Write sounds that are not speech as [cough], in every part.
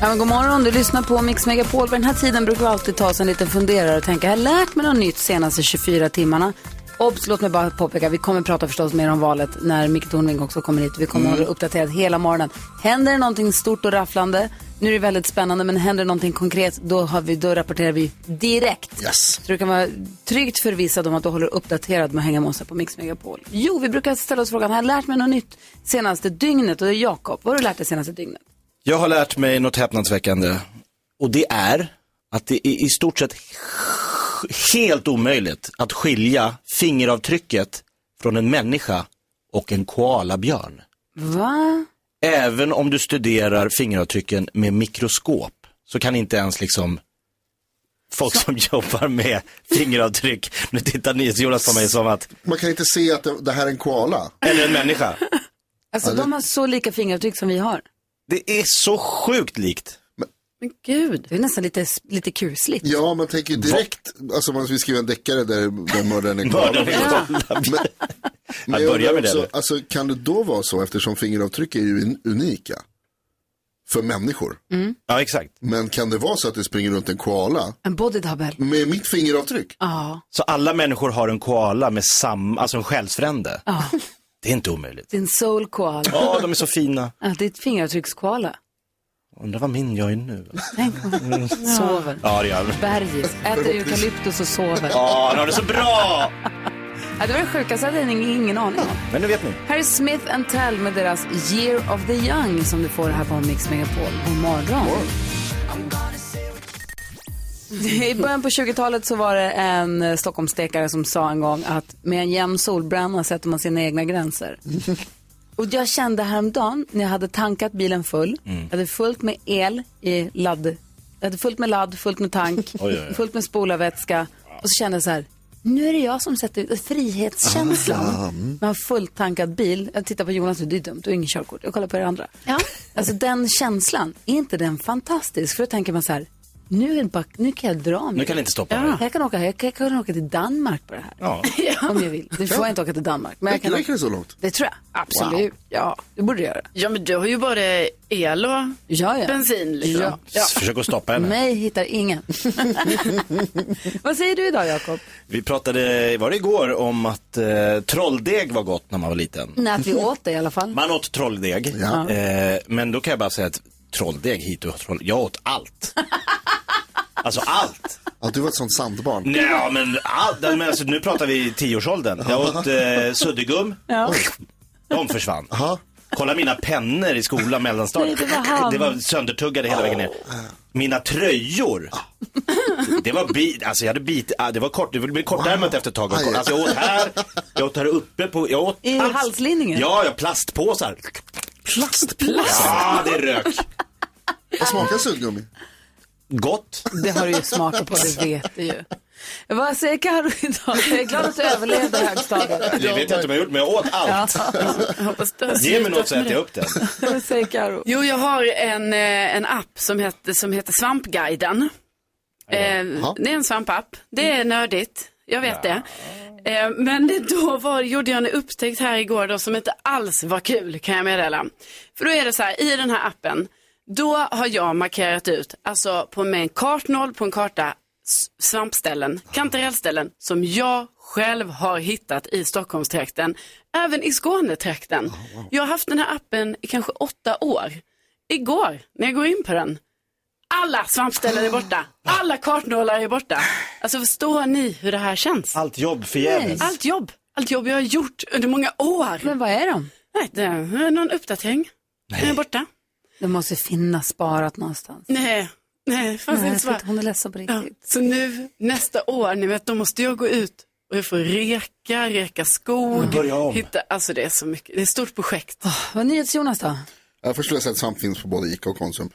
Ja, men god morgon, du lyssnar på Mix Megapol. Vid den här tiden brukar vi alltid ta oss en liten funderare och tänka, har jag lärt mig något nytt senaste 24 timmarna? Obs, låt mig bara påpeka, vi kommer prata förstås mer om valet när Micke Tornving också kommer hit. Vi kommer hålla dig uppdaterad hela morgonen. Händer det någonting stort och rafflande, nu är det väldigt spännande, men händer det någonting konkret, då, har vi, då rapporterar vi direkt. Yes. Så du kan vara tryggt förvissad om att du håller uppdaterad med att hänga med oss här på Mix Megapol. Jo, vi brukar ställa oss frågan, har jag lärt mig något nytt senaste dygnet? Och det är Jakob, vad har du lärt dig senaste dygnet? Jag har lärt mig något häpnadsväckande. Och det är att det är i stort sett helt omöjligt att skilja fingeravtrycket från en människa och en koalabjörn. Va? Även om du studerar fingeravtrycken med mikroskop så kan inte ens liksom folk som jobbar med fingeravtryck, nu tittar NyhetsJonas på mig som att, Man kan inte se att det, det här är en koala. eller en människa. Alltså de har så lika fingeravtryck som vi har. Det är så sjukt likt. Men gud. Det är nästan lite, lite kusligt. Ja, man tänker ju direkt, alltså man vill skriva en deckare där, där mördaren [laughs] är koala. Mördaren är koalabjörn. Men Jag börjar undrar med det, också, eller? Alltså, kan det då vara så, eftersom fingeravtryck är ju in- unika för människor. Mm. Ja exakt. Men kan det vara så att det springer runt en koala En body double. med mitt fingeravtryck? Ja, Så alla människor har en koala med samma, alltså en själsfrände. ja. Det är inte omöjligt. Det är en soul koala. Ja, de är så fina. Ja, det är ett fingeravtryckskoala. Undrar vad min jag är nu. Tänk om den sover. Ja, det gör de. Bergis, äter eukalyptus och sover. Ja, de har det så bra! Ja, det var det sjukaste, jag hade ingen, ingen aning om. Men nu vet ni. Här är Smith and Tell med deras Year of the Young som du får här på Mix Megapol. God morgon. I början på 20-talet så var det en eh, Stockholmsstekare som sa en gång att med en jämn solbränna sätter man sina egna gränser. Och jag kände häromdagen när jag hade tankat bilen full, Mm. jag hade fullt med el i ladd, jag hade fullt med ladd, fullt med tank, [laughs] oj, oj. fullt med spolarvätska och så kände jag så här, nu är det jag som sätter ut Ah, frihetskänslan. Man har fullt tankad bil, jag tittar på Jonas nu, det är dumt, du har inget körkort, jag kollar på er andra. Alltså den känslan, är inte den fantastisk? För då tänker man så här, nu, är det bara, nu kan jag dra mig. Nu kan ni inte stoppa ja. mig. Jag kan åka, jag kan, jag kan åka till Danmark på det här. Ja. [laughs] Om jag vill. Nu får jag inte åka till Danmark. Men jag Räcker kan räcker det så långt? det tror jag. Absolut. Ja, det borde du göra. Ja, men du har ju både el och Ja, ja. bensin. Liksom. Ja. Försök att stoppa henne. Mig hittar ingen. [laughs] Vad säger du idag, Jakob? Vi pratade, var det igår, om att eh, trolldeg var gott när man var liten. Nej, att vi åt det i alla fall. Man åt trolldeg. Ja. Eh, men då kan jag bara säga att trolldeg hit och troll... Jag åt [laughs] allt. Alltså allt. Ja, du var ett sånt Mm. sandbarn. Nej, men, allt. men alltså, nu pratar vi tioårsåldern. Jag åt eh, suddgum. Ja. De försvann. Aha. Kolla mina pennor i skolan mellanstadiet. Nej, det var han. Det var söndertuggade hela vägen ner. Mina tröjor. Det var bit, alltså jag hade bit, ah, det var kort, det blev kortärmat efter ett tag. Aj. Alltså jag åt här, jag åt här uppe på, jag åt I halslinningen? Ja, jag plastpåsar. Plastplast. Ja, det rök. Vad smakar suddgummi? Gott. Det har du ju smakat på, det vet du ju. Vad säger Carro idag? Jag är glad att du överlevde [laughs] högstadiet. Det vet jag inte om jag gjort, men jag åt allt. Jag hoppas det har Ge mig slutat något så med äter det. jag upp den. Vad säger Carro? Jo, jag har en, eh, en app som heter, som heter Svampguiden. Eh, det är en svampapp. Det är nördigt, jag vet det. Eh, men det- då var, gjorde jag en upptäckt här igår då som inte alls var kul kan jag meddela. För då är det så här, i den här appen, då har jag markerat ut, alltså på med en kartnoll på en karta, s- svampställen, kantarellställen som jag själv har hittat i Stockholmstrakten, även i Skånetrakten. Jag har haft den här appen i kanske åtta år. Igår, när jag går in på den, alla svampställen är borta. Alla kartnålar är borta. Alltså förstår ni hur det här känns? Allt jobb förgäves. Allt jobb, allt jobb jag har gjort under många år. Men vad är de? Nej, det är någon uppdatering. Den är borta. Det måste finnas sparat någonstans. Nej, nej, fanns Nej, inte svar. shit, hon är ledsen på Ja, riktigt. så nu nästa år, ni vet, då måste jag gå ut och jag får reka, reka skog, Börja om. hitta, alltså det är så mycket, det är ett stort projekt. Vad är NyhetsJonas då? Jag förstår att svamp finns på både Ica och Konsum.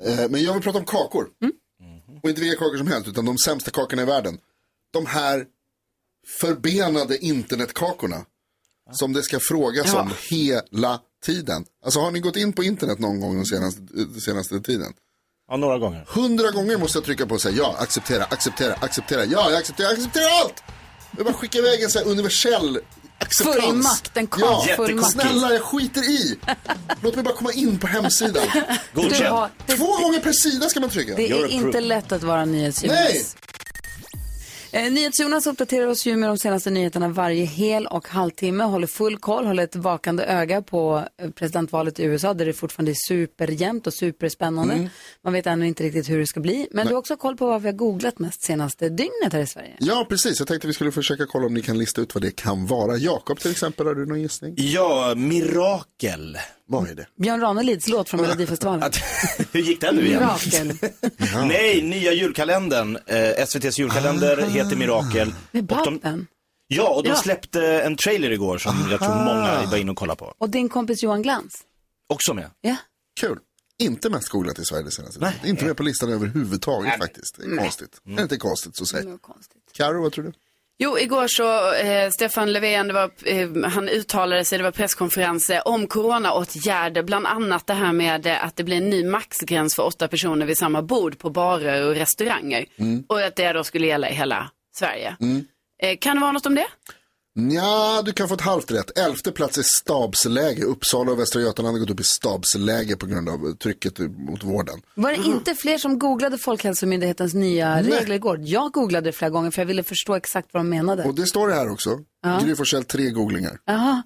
Och, eh, men jag vill prata om kakor. Mm-hmm. Och inte vilka kakor som helst, utan de sämsta kakorna i världen. De här förbenade internetkakorna. Som det ska frågas om hela tiden. Alltså har ni gått in på internet någon gång den senaste, den senaste tiden? Ja, några gånger. Hundra gånger måste jag trycka på och säga ja, acceptera, acceptera, acceptera, ja, jag accepterar, acceptera allt! Jag bara skickar iväg en sån här universell acceptans. Fullmakt, en ja, kakfullmakt. Snälla, jag skiter i. Låt mig bara komma in på hemsidan. Du Godkänd. har, det, Två gånger per sida ska man trycka. det är You're inte approved. lätt att vara Nej! NyhetsJonas. Eh, NyhetsJonas uppdaterar oss ju med de senaste nyheterna varje hel och halvtimme, håller full koll, håller ett vakande öga på eh, presidentvalet i USA där det fortfarande är superjämnt och superspännande. Man vet ännu inte riktigt hur det ska bli, men du har också koll på vad vi har googlat mest senaste dygnet här i Sverige. Ja, precis. Jag tänkte vi skulle försöka kolla om ni kan lista ut vad det kan vara. Jakob till exempel, har du någon gissning? Ja, mirakel. Vad är det? Björn Ranelids låt från Melodifestivalen. [laughs] Att- Hur gick den nu igen? Rakel. [laughs] Nej, nya julkalendern. Eh, SVTs julkalender heter Mirakel. Med Och de- Balten. Ja, och de släppte en trailer igår som jag tror många var inne och kollade på. Och din kompis Johan Glans. Också med. Ja. Kul. Inte mest googlat i Sverige det senaste tiden. Inte med på listan överhuvudtaget faktiskt. Det är konstigt. Är det inte konstigt så säg. Karo, vad tror du? Jo, igår så, eh, Stefan Löfven, det var, eh, han uttalade sig, det var presskonferenser om coronaåtgärder, bland annat det här med eh, att det blir en ny maxgräns för åtta personer vid samma bord på barer och restauranger. Och att det då skulle gälla i hela Sverige. Eh, kan det vara något om det? Ja, du kan få ett halvt rätt. Elfte plats är stabsläge. Uppsala och Västra Götaland har gått upp i stabsläge på grund av trycket mot vården. Var det inte fler som googlade Folkhälsomyndighetens nya regler igår? Jag googlade det flera gånger för jag ville förstå exakt vad de menade. Och det står det här också. Gry Forssell tre googlingar.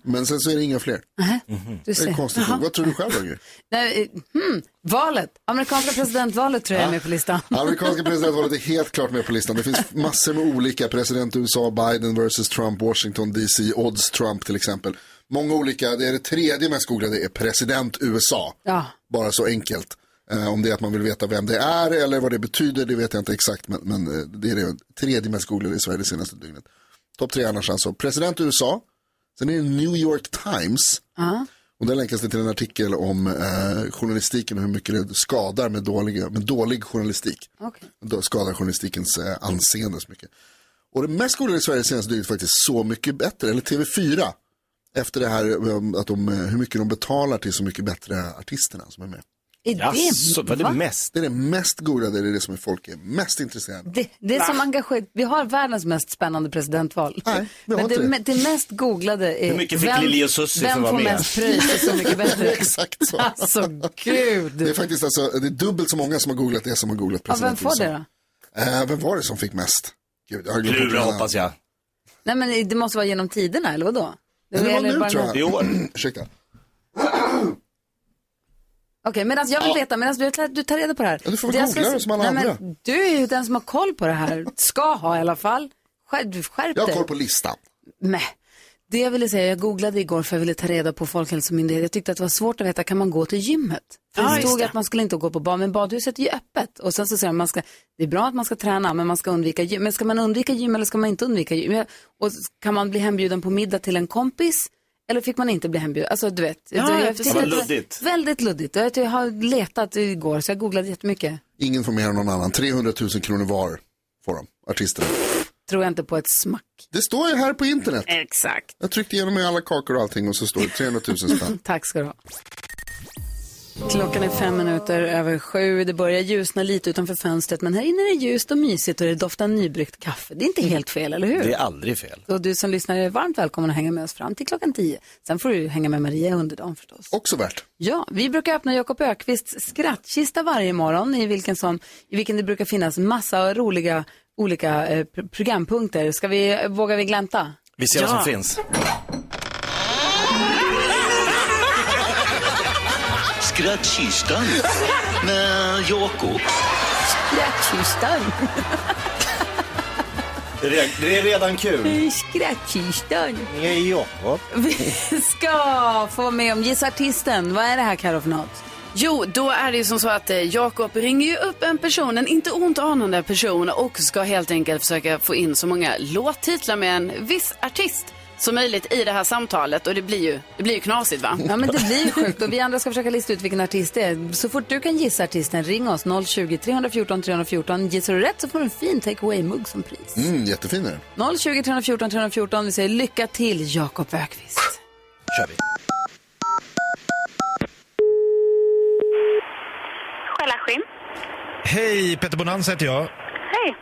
Men sen så är det inga fler. du Det är ser. konstigt. nog. Vad tror du själv då, Gry? Nej, eh, hmm, valet, amerikanska presidentvalet tror jag är med på listan. Amerikanska presidentvalet är helt klart med på listan. Det finns massor med olika. President USA, Biden versus Trump, Washington DC, odds Trump till exempel. Många olika. Det är det tredje mest googlade är president USA. Ja. Bara så enkelt. Eh, om det är att man vill veta vem det är eller vad det betyder, det vet jag inte exakt. Men, men eh, det är det tredje mest googlade i Sverige det senaste dygnet. Topp tre annars alltså. President USA. Sen är det New York Times. Och där länkas det till en artikel om eh, journalistiken och hur mycket det skadar med, dåliga, med dålig journalistik. Okej. Då skadar journalistikens eh, anseende så mycket. Och det mest skolade i Sverige senaste dygnet är faktiskt Så mycket bättre, eller TV4. Efter det här eh, att de, eh, hur mycket de betalar till Så mycket bättre artisterna som är med. Är det, Jaså, var det mest? Det är det mest googlade, det är det som folk är mest intresserade av. [laughs] det, det är som engagerat. Vi har världens mest spännande presidentval. Nej, vi har Men inte det, det. me- det mest googlade är Hur mycket fick Lili och Susie för vem att får vara med? mest pröjs och så mycket [laughs] bättre. Exakt så. alltså gud. Det är faktiskt alltså, det är dubbelt så många som har googlat det som har googlat Ja, vem president får USA. det då? Eh, vem var det som fick mest? Gud, jag har glömt Plura bort det. hoppas jag. Nej men det måste vara genom tiderna eller vadå? Men Det var eller nu bara tror någon- jag. I år. [clears throat] Ursäkta. Okej, medan jag vill veta, medan du, du tar reda på det här. Ja, du får väl jag ska googla det se- som alla Nej, Men, andra. du är ju den som har koll på det här, ska ha i alla fall. Skärp, skärp Jag har dig. koll på listan. Nej. Det jag ville säga, jag googlade igår för jag ville ta reda på Folkhälsomyndigheten. Jag tyckte att det var svårt att veta, kan man gå till gymmet? För Ja, det just stod det. att man skulle inte gå på bad, men badhuset är ju öppet. Och sen så säger de, man ska, det är bra att man ska träna, men man ska undvika gym. Men ska man undvika gym eller ska man inte undvika gym? Jag- Och s- kan man bli hembjuden på middag till en kompis? Eller fick man inte bli hembjuden? Alltså du vet. Ja, det, ja, jag tyckte precis. Det var att det var luddigt. Väldigt luddigt. Jag, jag har letat igår, så jag googlade jättemycket. Ingen får mer än någon annan. 300 000 kronor var får de, artisterna. Tror jag inte på ett smack. Det står ju här på internet. Exakt. Jag tryckte igenom alla kakor och allting och så står det 300 000 [laughs] spänn. Tack ska du ha. Klockan är fem minuter över sju. Det börjar ljusna lite utanför fönstret, men här inne är det ljust och mysigt och det doftar nybryggt kaffe. Det är inte helt fel, eller hur? Det är aldrig fel. Så du som lyssnar är varmt välkommen att hänga med oss fram till klockan tio. Sen får du hänga med Maria under dagen förstås. Också värt. Ja, vi brukar öppna Jakob Ökvists skrattkista varje morgon i vilken, som, i vilken det brukar finnas massa roliga olika eh, pr- programpunkter. Ska vi, vågar vi glänta? Vi ser vad som finns. Skrattkistan med Jakob. Skrattkistan! Det är- Det är redan kul. Skrattkistan. Nej, Jakob. Vi ska få med om Gissa artisten. Vad är det här Carro för något? Jo, då är det ju som så att eh, Jakob ringer ju upp en person, en inte ont anande person och ska helt enkelt försöka få in så många låttitlar med en viss artist som möjligt i det här samtalet och det blir ju, det blir ju knasigt va? Ja men det blir sjukt och vi andra ska försöka lista ut vilken artist det är. Så fort du kan gissa artisten ring oss 020-314 314. Gissar du rätt så får du en fin takeaway-mugg som pris. Mm, jättefin är den. 020 314 314. Vi säger lycka till Jakob Ökvist. kör vi. Skällarskinn. Hej, Peter Bonanza heter jag.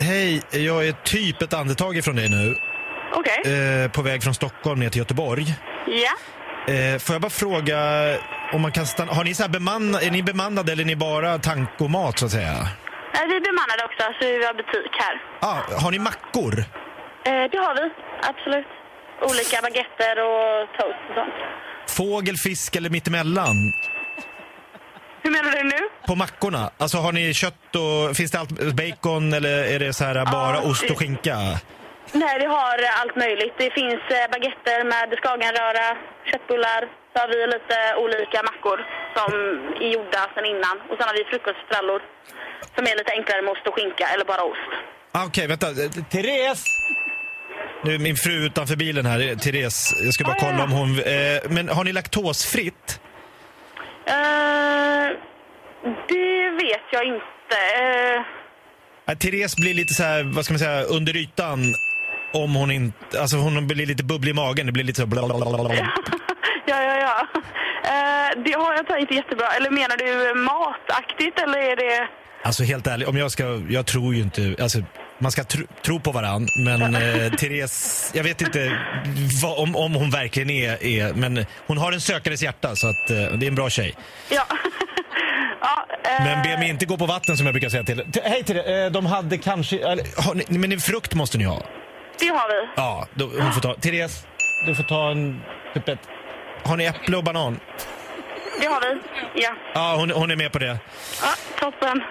Hej. Hej, jag är typ ett andetag ifrån dig nu. Okej. Eh, på väg från Stockholm ner till Göteborg. Ja. Eh, får jag bara fråga om man kan stanna? Har ni så här bemann... Är ni bemannade eller är ni bara tankomat så att säga? Eh, Vi är bemannade också, så vi har butik här. Ah, har ni mackor? Eh, Det har vi, absolut. Olika baguetter och toast och sånt. Fågel, fisk eller mittemellan? Hur menar du nu? På mackorna? Alltså har ni kött och... Finns det allt bacon eller är det så här bara Ja, ost det- och skinka? Nej, vi har eh, allt möjligt. Det finns eh, baguetter med skagenröra, köttbullar. Så har vi lite olika mackor som är gjorda sedan innan. Och sen har vi frukoststrallor som är lite enklare med ost och skinka eller bara ost. Ah, Okej, vänta. Eh, Therese! Nu är min fru utanför bilen här. Eh, Therese, jag ska bara kolla om hon... Eh, men har ni laktosfritt? Eh, Det vet jag inte. Eh, Eh, Therese blir lite så här, vad ska man säga, under ytan. Om hon inte... Alltså hon blir lite bubblig i magen. Det blir lite så... blablabla. Ja, ja, ja. Eh, det har jag tagit jättebra. Eller menar du mataktigt eller är det... Alltså helt ärligt, om jag ska... Jag tror ju inte... Alltså, man ska tro, tro på varann, men eh, Therese... Jag vet inte vad, om, om hon verkligen är, är... Men hon har en sökares hjärta, så att eh, det är en bra tjej. Ja. [laughs] ja eh, Men be mig inte gå på vatten som jag brukar säga till. T- Hej till er. Eh, de hade kanske... eller, har ni, men en frukt måste ni ha. det har vi. Ja, då, hon får ta... Therese, du får ta en... Typ ett, har ni äpple och banan? Det har vi. Ja. Ja, hon, hon är med på det. ja toppen.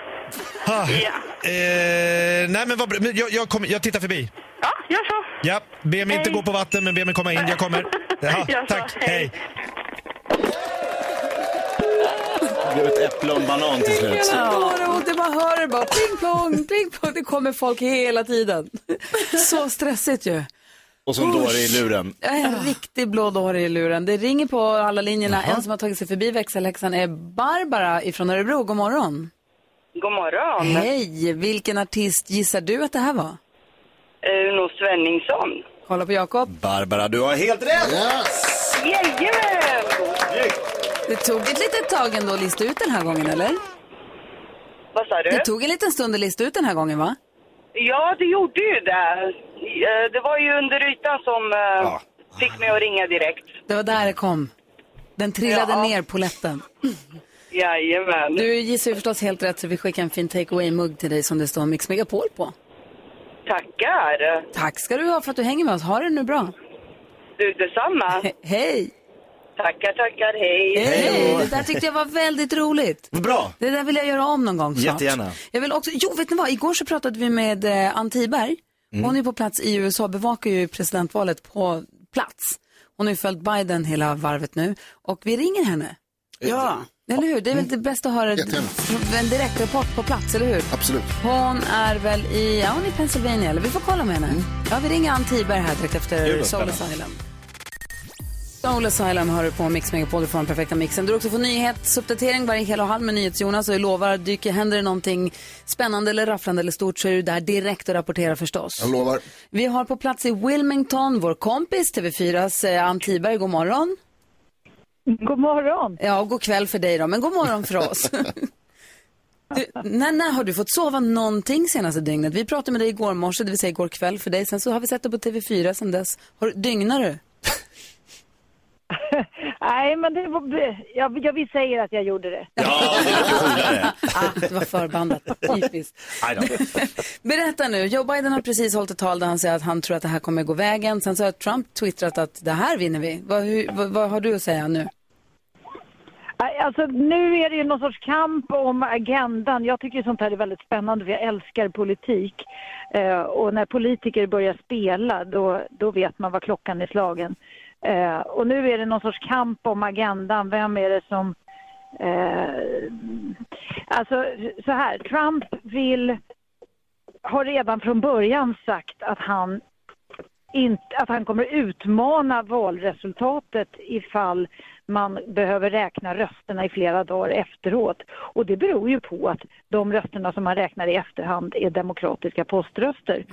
Ah, Ja. eh, nej, men vad bra. Men Jag, jag, kommer- jag tittar förbi. Ja, gör så. Ja, be mig inte Hej. gå på vatten, men be mig komma in. Jag [laughs] kommer. Ja, Gör så. tack. Hej. Hej. Det blev ett äpple och en banan till slut. Hela våren och det bara hör det bara pling plong, pling plong. Det kommer folk hela tiden. Så stressigt ju. Och så en dåre i luren. Jag är en riktig blå dåre i luren. Det ringer på alla linjerna. En som har tagit sig förbi växelhäxan är Barbara ifrån Örebro. God morgon. God morgon. Hej, vilken artist gissar du att det här var? Uno Svenningsson. Kolla på Jakob. Barbara, du har helt rätt! Jajamän! Det tog ett litet tag ändå att lista ut den här gången, eller? Vad sa du? Det tog en liten stund att lista ut den här gången, va? Ja, det gjorde ju det. Eh, Det var ju under ytan som eh, fick mig att ringa direkt. Det var där det kom. Den trillade Ja. ner på lätten. Jajamän. Du gissar ju förstås helt rätt så vi skickar en fin takeaway-mugg till dig som det står Mix Megapol på. Tackar. Tack ska du ha för att du hänger med oss. Ha det nu bra. Du [laughs] detsamma. Hej! Tackar, tackar. Hej. Hej! Det där tyckte jag var väldigt roligt. Bra! Det där vill jag göra om någon gång snart. Jättegärna. Jag vill också, jo vet ni vad, igår så pratade vi med eh, Ann Tiberg. Hon är på plats i USA, bevakar ju presidentvalet på plats. Hon har ju följt Biden hela varvet nu och vi ringer henne. Ja. Eller hur? Det är väl det bästa att höra en direktrapport på plats, eller hur? Absolut. Hon är väl i, ja hon är i Pennsylvania, eller vi får kolla med henne. Ja, vi ringer Ann Tiberg här direkt Kul, efter vad Soul spännande. Asylum. Soul Asylum hör du på Mix Megapol, du får den perfekta mixen. Du också får nyhetsuppdatering varje hel och halv med NyhetsJonas och jag lovar, dyker, händer det någonting spännande eller rafflande eller stort så är du där direkt och rapporterar förstås. Jag lovar. Vi har på plats i Wilmington vår kompis TV4s eh, Ann Tiberg, god morgon. God morgon. Ja, och god kväll för dig då, men god morgon för oss. Du, när, när har du fått sova någonting senaste dygnet? Vi pratade med dig igår morse, det vill säga igår kväll för dig. Sen så har vi sett dig på TV4 sen dess. Har, du- dygnar du? Nej, men det var, jag, jag vill säga att jag gjorde det. ah, det var förbandat. Typiskt. Nej då. [laughs] Berätta nu, Joe Biden har precis hållit ett tal där han säger att han tror att det här kommer gå vägen. Sen så har Trump twittrat att det här vinner vi. Vad, hur, vad, vad har du att säga nu? Alltså, nu är det ju någon sorts kamp om agendan. Jag tycker sånt här är väldigt spännande för jag älskar politik. Eh, och när politiker börjar spela då, då vet man vad klockan är slagen. Eh, och nu är det någon sorts kamp om agendan. Vem är det som... Eh, alltså så här, Trump vill... Har redan från början sagt att han inte, att han kommer utmana valresultatet ifall man behöver räkna rösterna i flera dagar efteråt. Och det beror ju på att de rösterna som man räknar i efterhand är demokratiska poströster.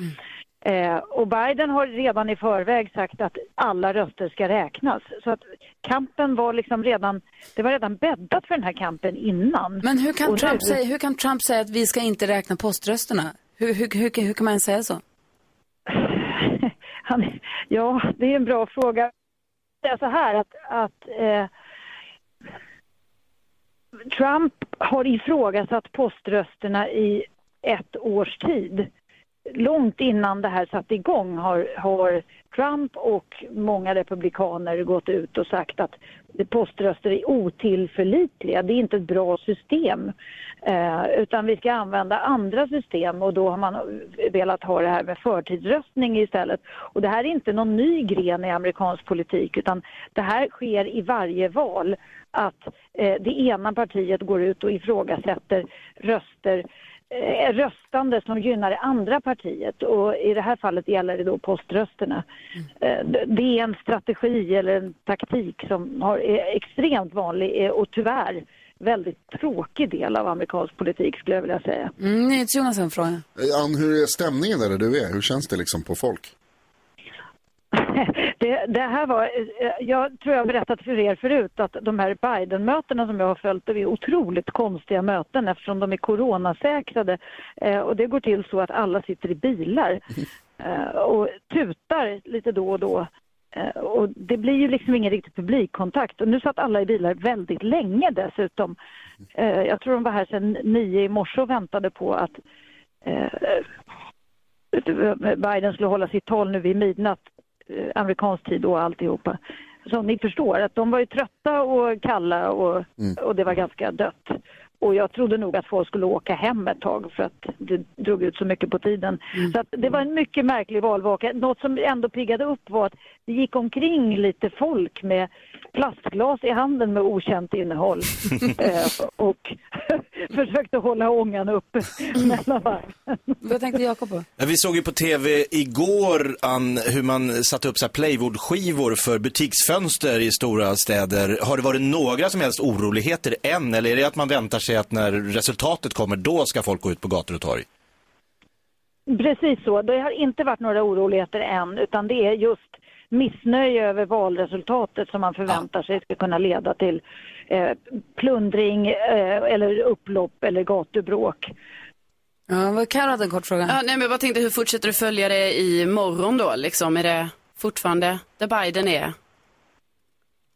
Eh, och Biden har redan i förväg sagt att alla röster ska räknas. Så att kampen var liksom redan, det var redan bäddat för den här kampen innan. Men hur Och kan, nu- Trump säga, hur kan Trump säga att vi ska inte räkna poströsterna? Hur, hur, hur, hur kan man ens säga så? [laughs] Han, ja, det är en bra fråga. Det är så här att, att eh, Trump har ifrågasatt poströsterna i ett års tid. Långt innan det här satte igång har, har Trump och många republikaner gått ut och sagt att poströster är otillförlitliga. Det är inte ett bra system. Eh, utan vi ska använda andra system och då har man velat ha det här med förtidsröstning istället. Och det här är inte någon ny gren i amerikansk politik utan det här sker i varje val att eh, det ena partiet går ut och ifrågasätter röster eh, röstande som gynnar det andra partiet och i det här fallet gäller det då poströsterna. Eh, d- Det är en strategi eller en taktik som har, är extremt vanlig eh, och tyvärr väldigt tråkig del av amerikansk politik skulle jag vilja säga. Mm, NyhetsJonas har en fråga. Eh, Ann, hur är stämningen där du är? Hur känns det liksom på folk? Det, det här var, eh, jag tror jag har berättat för er förut att de här Biden-mötena som jag har följt, de är otroligt [laughs] konstiga möten eftersom de är coronasäkrade. Eh, och det går till så att alla sitter i bilar eh, och tutar lite då och då. Eh, och det blir ju liksom ingen riktig publikkontakt. Och nu satt alla i bilar väldigt länge dessutom. Eh, jag tror de var här sedan nio i morse och väntade på att eh, Biden skulle hålla sitt tal nu vid midnatt, eh, amerikansk tid och alltihopa. Som ni förstår, att de var ju trötta och kalla och, och det var ganska dött. Och jag trodde nog att folk skulle åka hem ett tag för att det drog ut så mycket på tiden. Så att det var en mycket märklig valvaka. Något som ändå piggade upp var att det gick omkring lite folk med plastglas i handen med okänt innehåll. eh, och [laughs] försökte hålla ångan uppe mellan varven. Vad tänkte Jakob på? Ja, Vi såg ju på tv igår Ann, hur man satte upp så här playwoodskivor för butiksfönster i stora städer. Har det varit några som helst oroligheter än eller är det att man väntar sig att när resultatet kommer då ska folk gå ut på gator och torg? Precis så. Det har inte varit några oroligheter än utan det är just missnöje över valresultatet som man förväntar sig ska kunna leda till eh, plundring eh, eller upplopp eller gatubråk. Ja, vad Carro hade en kort fråga. Ja, nej, men jag bara tänkte, hur fortsätter du följa det i morgon då? Liksom, är det fortfarande där Biden är?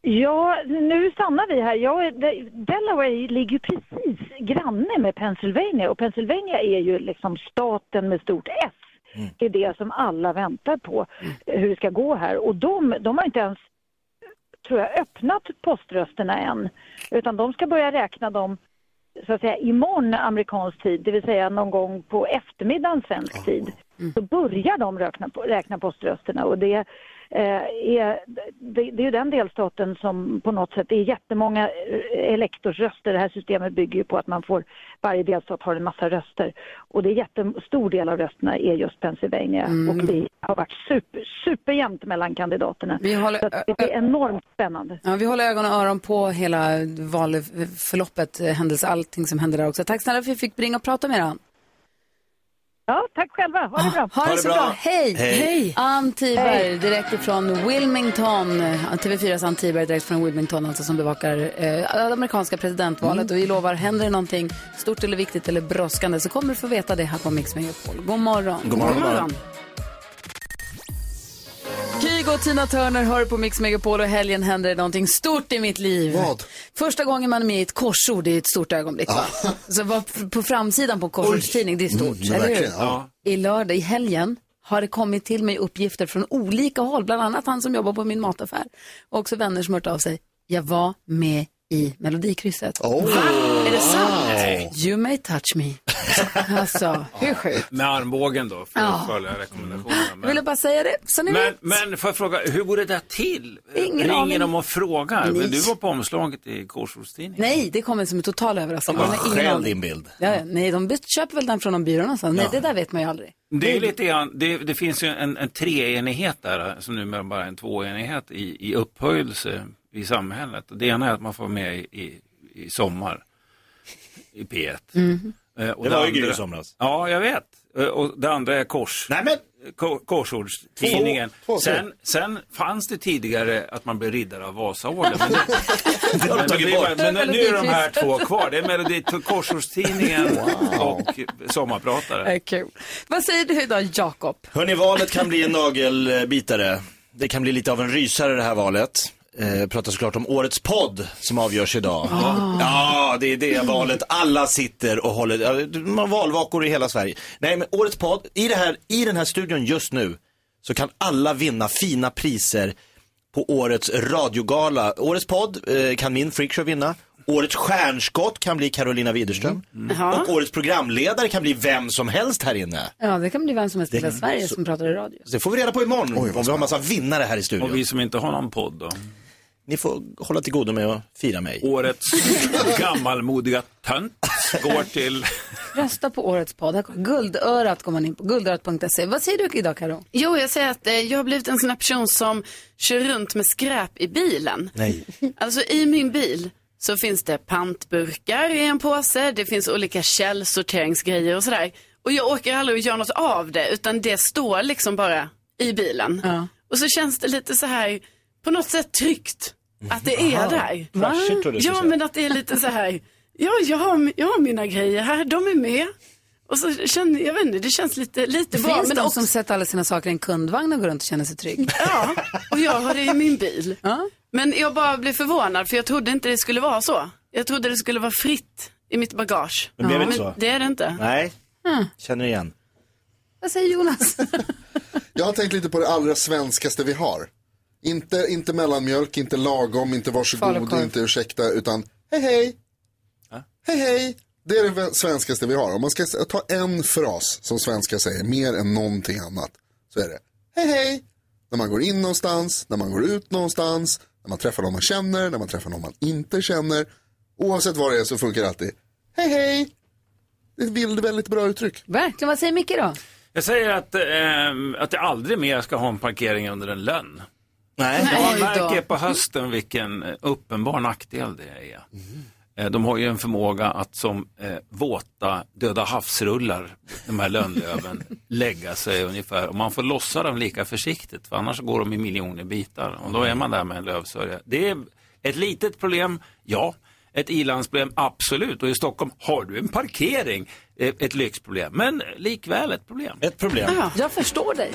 Ja, nu stannar vi här. Jag, är- det- Delaware ligger ju precis granne med Pennsylvania och Pennsylvania är ju liksom staten med stort S. Det är det som alla väntar på, eh, hur det ska gå här. Och de, de har inte ens, tror jag, öppnat poströsterna än. Utan de ska börja räkna dem så att säga imorgon amerikansk tid, det vill säga någon gång på eftermiddagen svensk tid, Mm. så börjar de räkna, på- räkna poströsterna och det eh, är, det, det är ju den delstaten som på något sätt, det är jättemånga eh, elektorsröster, det här systemet bygger ju på att man får, varje delstat har en massa röster och det är jättestor del av rösterna är just Pennsylvania Mm. och det har varit super, superjämnt mellan kandidaterna. Vi håller- så att det är enormt spännande. Ja, vi håller ögon och öron på hela valförloppet, eh, händelse, allting som händer där också. Tack snälla för att vi fick ringa och prata med er. Ann. Ja, tack själva, ha det bra! Ha det, så bra. Hej! Hej. Ann Tiberg, Hej. direkt ifrån Wilmington. TV4s Ann Tiberg, direkt från Wilmington, alltså som bevakar eh, amerikanska presidentvalet. Och vi lovar, händer det någonting stort eller viktigt eller brådskande så kommer du få veta det här på Mix Megapol. God morgon! God morgon. Kygo och Tina Turner hör på Mix Megapol och i helgen händer det någonting stort i mitt liv. Vad? Första gången man är med i ett korsord det är ett stort ögonblick. Va? [laughs] Så vad- på framsidan på en korsordstidning, det är stort. Mm, eller hur? verkligen, ja. I lördag, i helgen, har det kommit till mig uppgifter från olika håll, bland annat han som jobbar på min mataffär och också vänner som hört av sig. Jag var med i Melodikrysset. Oh. Va? Är det Nej. sant? You may touch [laughs] me. Alltså, hur sjukt? Med armbågen då, för Ja. att följa rekommendationerna. Jag ville bara säga det, så ni Men, vet. men får jag fråga, hur går det där till? Ingen Ringer aning. de och frågar? Nej. Men du var på omslaget i Korsordstidningen. Nej, det kommer som en total överraskning. Man har ingen aning. bild. Ja, ja, nej, de köper väl den från någon byrå någonstans. Nej, Ja. det där vet man ju aldrig. Det, är lite grann, det, det finns ju en, en treenighet där, som numera bara är en tvåenighet i, i upphöjelse i samhället. Det ena är att man får vara med i, i, i sommar i P1. Eh, Det var ju andra- Gry i somras. Ja, jag vet. Eh, Och det andra är kors. Nej, men... Korsordstidningen. Två- två- Sen, sen fanns det tidigare att man blev riddare av Vasaorden. Men, det, [laughs] de men, tagit det är bara- bort. men nu är de här Melodikrysset. två kvar. Det är Melodi, Korsordstidningen och Sommarpratare. Det är kul. Vad säger du idag, Jakob? Hörni, valet kan bli en nagelbitare. Det kan bli lite av en rysare det här valet. Eh, pratar såklart om årets podd som avgörs idag. Ah. Ja, det är det valet. Alla sitter och håller, ja, de har valvakor i hela Sverige. Nej, men årets podd, i, det här, i den här studion just nu så kan alla vinna fina priser på årets radiogala. Årets podd eh, kan min freakshow vinna. Årets stjärnskott kan bli Carolina Widerström. Ja. Och årets programledare kan bli vem som helst här inne. Ja, det kan bli vem som helst i hela Det- Sverige så- som pratar i radio. Så det får vi reda på imorgon om vi har massa vinnare här i studion. Och vi som inte har någon podd då? Ni får hålla till godo med att fira mig. Årets gammalmodiga tönt går till... Rösta på årets podd. Här kommer- Guldörat går man in på. Guldörat.se. Vad säger du idag, Karo? Jo, jag säger att eh, jag har blivit en sån här person som kör runt med skräp i bilen. Nej. Alltså i min bil så finns det pantburkar i en påse, det finns olika källsorteringsgrejer och sådär. Och jag åker aldrig och gör något av det utan det står liksom bara i bilen. Och så känns det lite så här, på något sätt tryggt att det är Aha. där. Trashigt trodde jag skulle Ja, säga. men att det är lite så här, ja, jag har, jag har mina grejer här, de är med. Och så känner, jag vet inte, det känns lite, lite Det bra. finns men de också- som sätter alla sina saker i en kundvagn och går runt och känner sig [laughs] trygg. och jag har det i min bil. Men jag bara blev förvånad för jag trodde inte det skulle vara så. Jag trodde det skulle vara fritt i mitt bagage. Men blev det inte så? det är det inte. Nej, Mm. känner igen. Vad säger Jonas? Jag har tänkt lite på det allra svenskaste vi har. Inte, inte mellanmjölk, inte lagom, inte varsågod, Falukorv. inte ursäkta, utan hej hej. Hej hej. Det är det svenskaste vi har. Om man ska s- ta en fras som svenskar säger mer än någonting annat så är det hej hej. När man går in någonstans, när man går ut någonstans, när man träffar någon man känner, när man träffar någon man inte känner. Oavsett vad det är så funkar det alltid. Hej hej. Det är ett väldigt, väldigt bra uttryck. Verkligen. Vad säger Micke då? Jag säger att, ehm, att jag aldrig mer ska ha en parkering under en lön. Nej. Jag Oj då. märker på hösten vilken eh, uppenbar nackdel det är. Eh, De har ju en förmåga att som eh, våta döda havsrullar, de [laughs] här lönnlöven, lägga sig ungefär. Och man får lossa dem lika försiktigt, för annars går de i miljoner bitar. Och då är man där med en lövsörja. Det är ett litet problem, ja. Ett ilandsproblem, absolut. Och i Stockholm har du en parkering, eh, ett lyxproblem. Men likväl ett problem. Ett problem. Ja, jag förstår dig.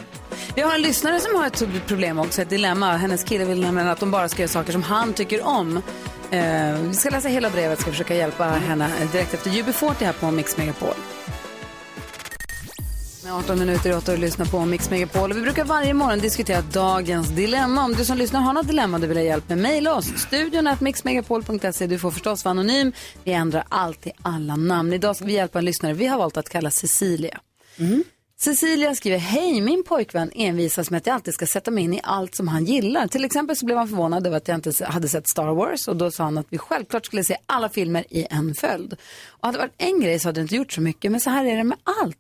Vi har en lyssnare som har ett problem också, ett dilemma. Hennes kille vill nämligen att de bara ska göra saker som han tycker om. Eh, vi ska läsa hela brevet, ska försöka hjälpa henne direkt efter UB40 här på Mix Megapol. Med 18 minuter i åtta och lyssna på Mix Megapol. Och Vi brukar varje morgon diskutera dagens dilemma. Om du som lyssnar har något dilemma du vill ha hjälp med, mejla oss. Studion at mixmegapol.se. Du får förstås vara anonym. Vi ändrar alltid alla namn. Idag ska vi hjälpa en lyssnare vi har valt att kalla Cecilia. Cecilia skriver, hej min pojkvän envisas med att jag alltid ska sätta mig in i allt som han gillar. Till exempel så blev han förvånad över att jag inte hade sett Star Wars och då sa han att vi självklart skulle se alla filmer i en följd. Och hade det varit en grej så hade det inte gjort så mycket, men så här är det med allt.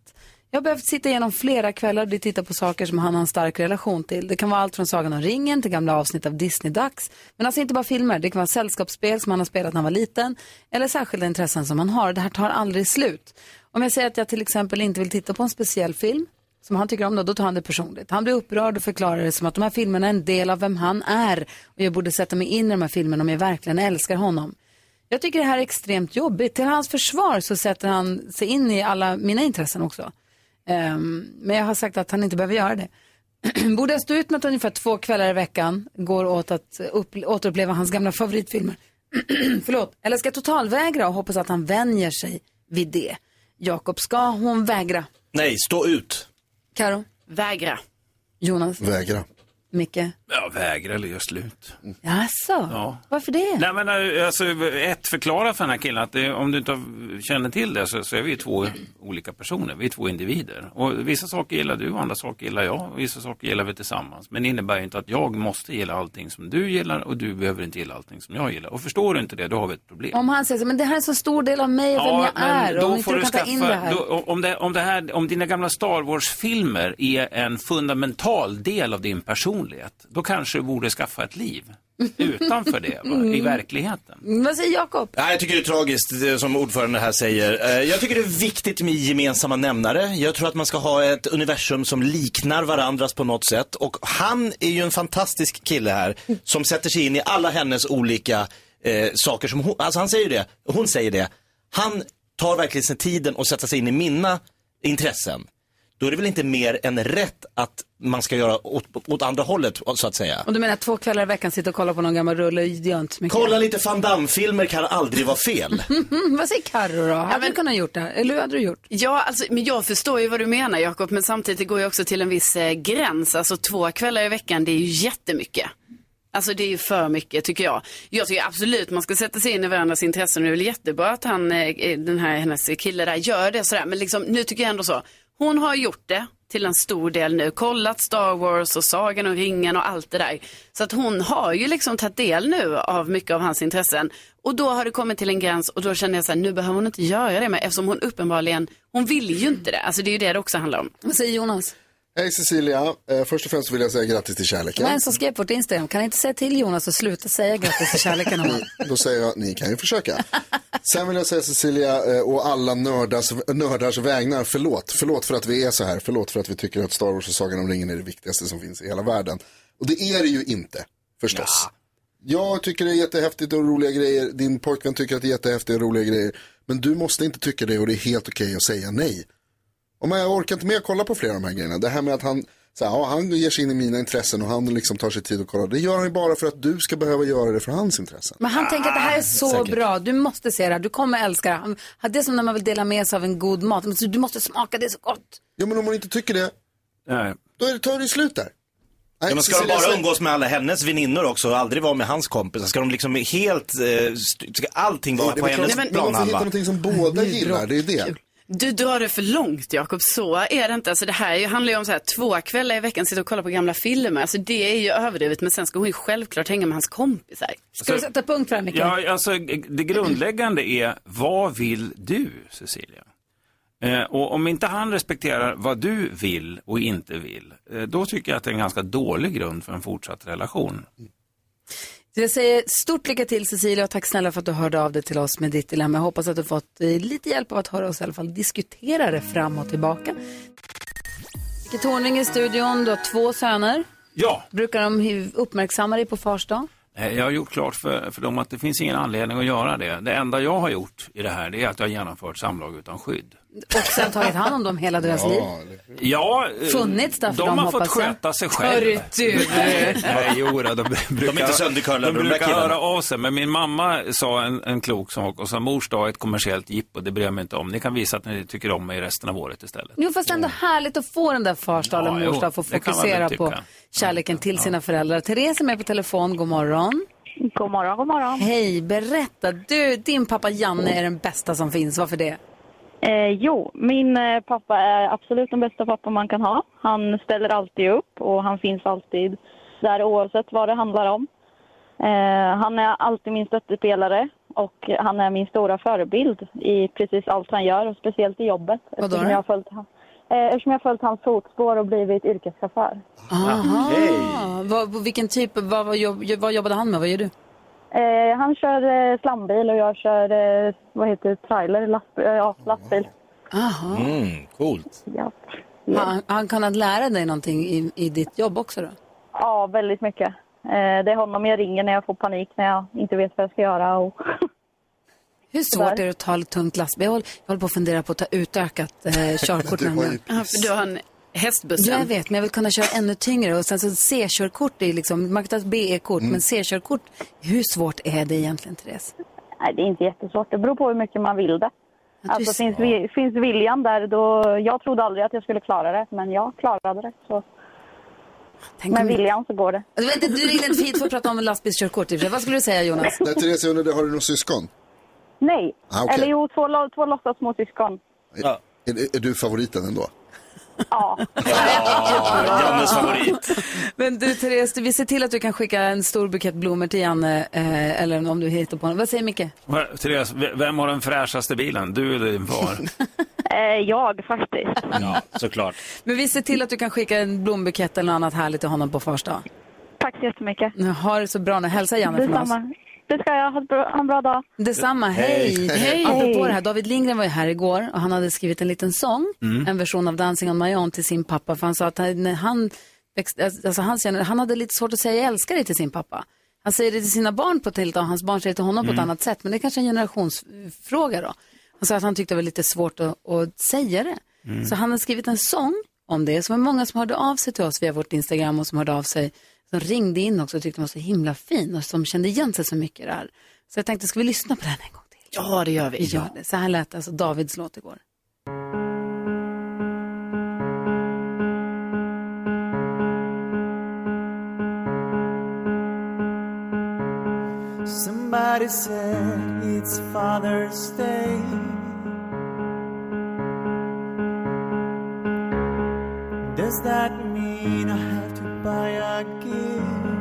Jag har behövt sitta igenom flera kvällar där vi tittar på saker som han har en stark relation till. Det kan vara allt från Sagan om ringen till gamla avsnitt av Disney-dags. Men alltså inte bara filmer, det kan vara sällskapsspel som han har spelat när han var liten eller särskilda intressen som han har. Det här tar aldrig slut. Om jag säger att jag till exempel inte vill titta på en speciell film som han tycker om, då, då tar han det personligt. Han blir upprörd och förklarar det som att de här filmerna är en del av vem han är och jag borde sätta mig in i de här filmerna om jag verkligen älskar honom. Jag tycker det här är extremt jobbigt. Till hans försvar så sätter han sig in i alla mina intressen också. Ehm, men jag har sagt att han inte behöver göra det. [clears throat] Borde jag stå ut med att ungefär två kvällar i veckan går åt att upp, återuppleva hans gamla favoritfilmer? [clears throat] Förlåt. Eller ska jag totalvägra och hoppas att han vänjer sig vid det? Jakob, ska hon vägra? Nej, stå ut. Karo? Vägra. Jonas? Vägra. Micke? Jag vägrar eller gör slut. Jaså? Ja. Varför det? Nej men eh, alltså, ett, förklara för den här killen att det, om du inte har- känner till det så, så är vi ju två olika personer, vi är två individer. Och vissa saker gillar du, andra saker gillar jag och vissa saker gillar vi tillsammans. Men det innebär ju inte att jag måste gilla allting som du gillar och du behöver inte gilla allting som jag gillar. Och förstår du inte det, då har vi ett problem. Om han säger så, men det här är en så stor del av mig och vem jag är. och Om inte du kan ta in det här. då, om, det, om, det här, om dina gamla Star Wars-filmer är en fundamental del av din personlighet, då kanske du borde skaffa [laughs] ett liv utanför det, va? i Mm. verkligheten. Mm, Vad säger Jakob? Nej, jag tycker det är tragiskt det som ordförande här säger. Eh, Jag tycker det är viktigt med gemensamma nämnare. Jag tror att man ska ha ett universum som liknar varandras på något sätt. Och han är ju en fantastisk kille här som sätter sig in i alla hennes olika eh, saker. Som hon, alltså han säger ju det, hon säger det. Han tar verkligen sig tiden och sätter sig in i mina intressen. Då är det väl inte mer än rätt att man ska göra åt, åt andra hållet så att säga. Och du menar att två kvällar i veckan sitta och kolla på någon gammal rulle, det gör inte så mycket. Kolla lite van Damme-filmer kan aldrig vara fel. Mm, [laughs] vad säger Carro då? Hade du kunnat gjort det här? Eller hur hade du gjort? Ja, alltså, men jag förstår ju vad du menar Jakob, men samtidigt går jag också till en viss eh, gräns. Alltså två kvällar i veckan, det är ju jättemycket. Alltså det är ju för mycket tycker jag. Jag tycker absolut man ska sätta sig in i varandras intressen och det är väl jättebra att han, eh, den här, hennes kille där gör det sådär. Men liksom, nu tycker jag ändå så. Hon har gjort det till en stor del nu. Kollat Star Wars och Sagan och ringen och allt det där. Så att hon har ju liksom tagit del nu av mycket av hans intressen. Och då har det kommit till en gräns och då känner jag så här, nu behöver hon inte göra det mer eftersom hon uppenbarligen, hon vill ju inte det. Alltså det är ju det det också handlar om. Vad säger Jonas? Hej Cecilia, eh, först och främst vill jag säga grattis till Det var kärleken. en som skrev på vårt Instagram, kan inte säga till Jonas att sluta säga grattis till kärleken om Då säger jag, ni kan ju försöka. Sen vill jag säga Cecilia eh, och alla nördars, nördars vägnar, förlåt. Förlåt för att vi är så här, förlåt för att vi tycker att Star Wars och Sagan om ringen är det viktigaste som finns i hela världen. Och det är det ju inte, förstås. Jag tycker det är jättehäftigt och roliga grejer, din pojkvän tycker att det är jättehäftigt och roliga grejer. Men du måste inte tycka det och det är helt okej att säga nej. Och men jag orkar inte med att kolla på flera av de här grejerna. Det här med att han, så här, ja, han ger sig in i mina intressen och han liksom tar sig tid att kolla. Det gör han ju bara för att du ska behöva göra det för hans intressen. Men han tänker att det här är så säkert. bra, du måste se det här, du kommer älska det här. Han- Det är som när man vill dela med sig av en god mat, Men så du måste smaka, det är så gott. Ja, men om man inte tycker det, då är det, tar det slut där. Nej, Ja, men ska de Cecilia, bara släpp- umgås med alla hennes väninnor också och aldrig vara med hans kompisar? Ska de liksom helt, eh, st- ska allting vara Det är på väl klart- hennes Nej, men- Man får hitta planhalva? någonting som båda Det är gillar, bra. det är det. Du drar det för långt Jakob, så är det inte. Alltså det här är ju, handlar ju om så här, två kvällar i veckan, sitta och kolla på gamla filmer. Alltså det är ju överdrivet, men sen ska hon ju självklart hänga med hans kompisar. Ska du sätta punkt för det här, Mikael? Ja, alltså, det grundläggande är, vad vill du, Cecilia? Eh, och om inte han respekterar vad du vill och inte vill, eh, då tycker jag att det är en ganska dålig grund för en fortsatt relation. Så jag säger stort lycka till Cecilia och tack snälla för att du hörde av dig till oss med ditt dilemma. Jag hoppas att du fått eh, lite hjälp av att höra oss i alla fall diskutera det fram och tillbaka. Micke Tornving i studion, du har två söner. Ja, Brukar de hu- uppmärksamma dig på fars dag? eh, jag har gjort klart för, för dem att det finns ingen anledning att göra det. Det enda jag har gjort i det här, det är att jag har genomfört samlag utan skydd. Och sen tagit hand om dem hela deras liv. Ja, eh, Funnits där för de dem, har fått hoppas jag. sköta sig Hörru, själv. du. Nej, jodå, de brukar, inte söndercurlade, de de där brukar killarna. höra av sig. Men min mamma sa en, en klok sak och sa mors dag är ett kommersiellt jippo, det bryr jag mig inte om. Ni kan visa att ni tycker om mig resten av året istället. Jo, fast ändå härligt att få den där fars dag eller Ja, mors jo, dag, få det kan man väl fokusera på tycka. kärleken till sina föräldrar. Therese är med på telefon, god morgon. God morgon, god morgon. Hej, berätta. Du, din pappa Janne är den bästa som finns, varför det? Eh, jo, min eh, pappa är absolut den bästa pappa man kan ha. Han ställer alltid upp och han finns alltid där oavsett vad det handlar om. Eh, han är alltid min stöttepelare och han är min stora förebild i precis allt han gör och speciellt i jobbet. Vad då? Eftersom jag har följt, han- eh, eftersom jag har följt hans fotspår och blivit yrkeschaufför. Aha. Vad, på vilken typ, vad, vad, jobb, vad jobbade han med, vad gör du? Eh, han kör eh, slambil och jag kör eh, vad heter det, trailer, lastbil. Eh, ja, lastbil. Aha. Mm, coolt. Ja. Han, han kunnat lära dig någonting i, i ditt jobb också då? Ja, väldigt mycket. Eh, Det är honom jag ringer när jag får panik, när jag inte vet vad jag ska göra. Och... [laughs] Hur svårt är det att ta ett tungt lastbil? Jag håller, jag håller på att fundera på att ta utökat eh, körkort. Du har ju nämligen. Ja, för du har en hästbussen. Ja, jag vet, men jag vill kunna köra ännu tyngre. Och sen så C-körkort, är liksom, man kan ta ett BE-kort, men C-körkort, hur svårt är det egentligen, Therese? Nej, det är inte jättesvårt. Det beror på hur mycket man vill det. Alltså, ser. finns, vi, finns viljan där, då... Jag trodde aldrig att jag skulle klara det, men jag klarade det. Så... Tänk om- Med William så går det. Du, vet, du ringde inte hit för att prata om lastbilskörkort i och för sig. Vad skulle du säga Jonas? Nej, Therese, jag undrar, har du några syskon? Nej. Ah, okej. Eller jo, två, lo- två låtsas småsyskon. Är, är du favoriten ändå? Jannes favorit. Men du Therese, vi ser till att du kan skicka en stor bukett blommor till Janne. Eh, eller om du hittar på honom. Vad säger Micke? Va- Therese, v- vem har den fräschaste bilen? Du eller din far? Eh, jag faktiskt. [laughs] ja, såklart. Men vi ser till att du kan skicka en blombukett eller något annat härligt till honom på fars dag. Tack så jättemycket. Nu har det så bra nu. Hälsa Janne från oss. Detsamma. Det ska jag. Ha ett bra- ha en bra dag. Detsamma, hej! Hej. Apropå det här, David Lindgren var ju här igår och han hade skrivit en liten sång, Mm. en version av Dancing on my own till sin pappa. För han sa att han, när han, växte, alltså han, känner- han hade lite svårt att säga jag älskar dig till sin pappa. Han säger det till sina barn på ett helt och hans barn säger det till honom på Mm. ett annat sätt. Men det är kanske är en generationsfråga då. Han sa att han tyckte det var lite svårt att, att säga det. Mm. Så han har skrivit en sång om det. Så var det många som hörde av sig till oss via vårt Instagram och som hörde av sig. Som ringde in också och tyckte den var så himla fin och som kände igen sig så mycket i det här. Så jag tänkte, ska vi lyssna på den en gång till? Ja, det gör vi. Vi gör det. Så här lät alltså Davids låt igår. Somebody said it's Father's Day. Does that mean I have to buy a gift?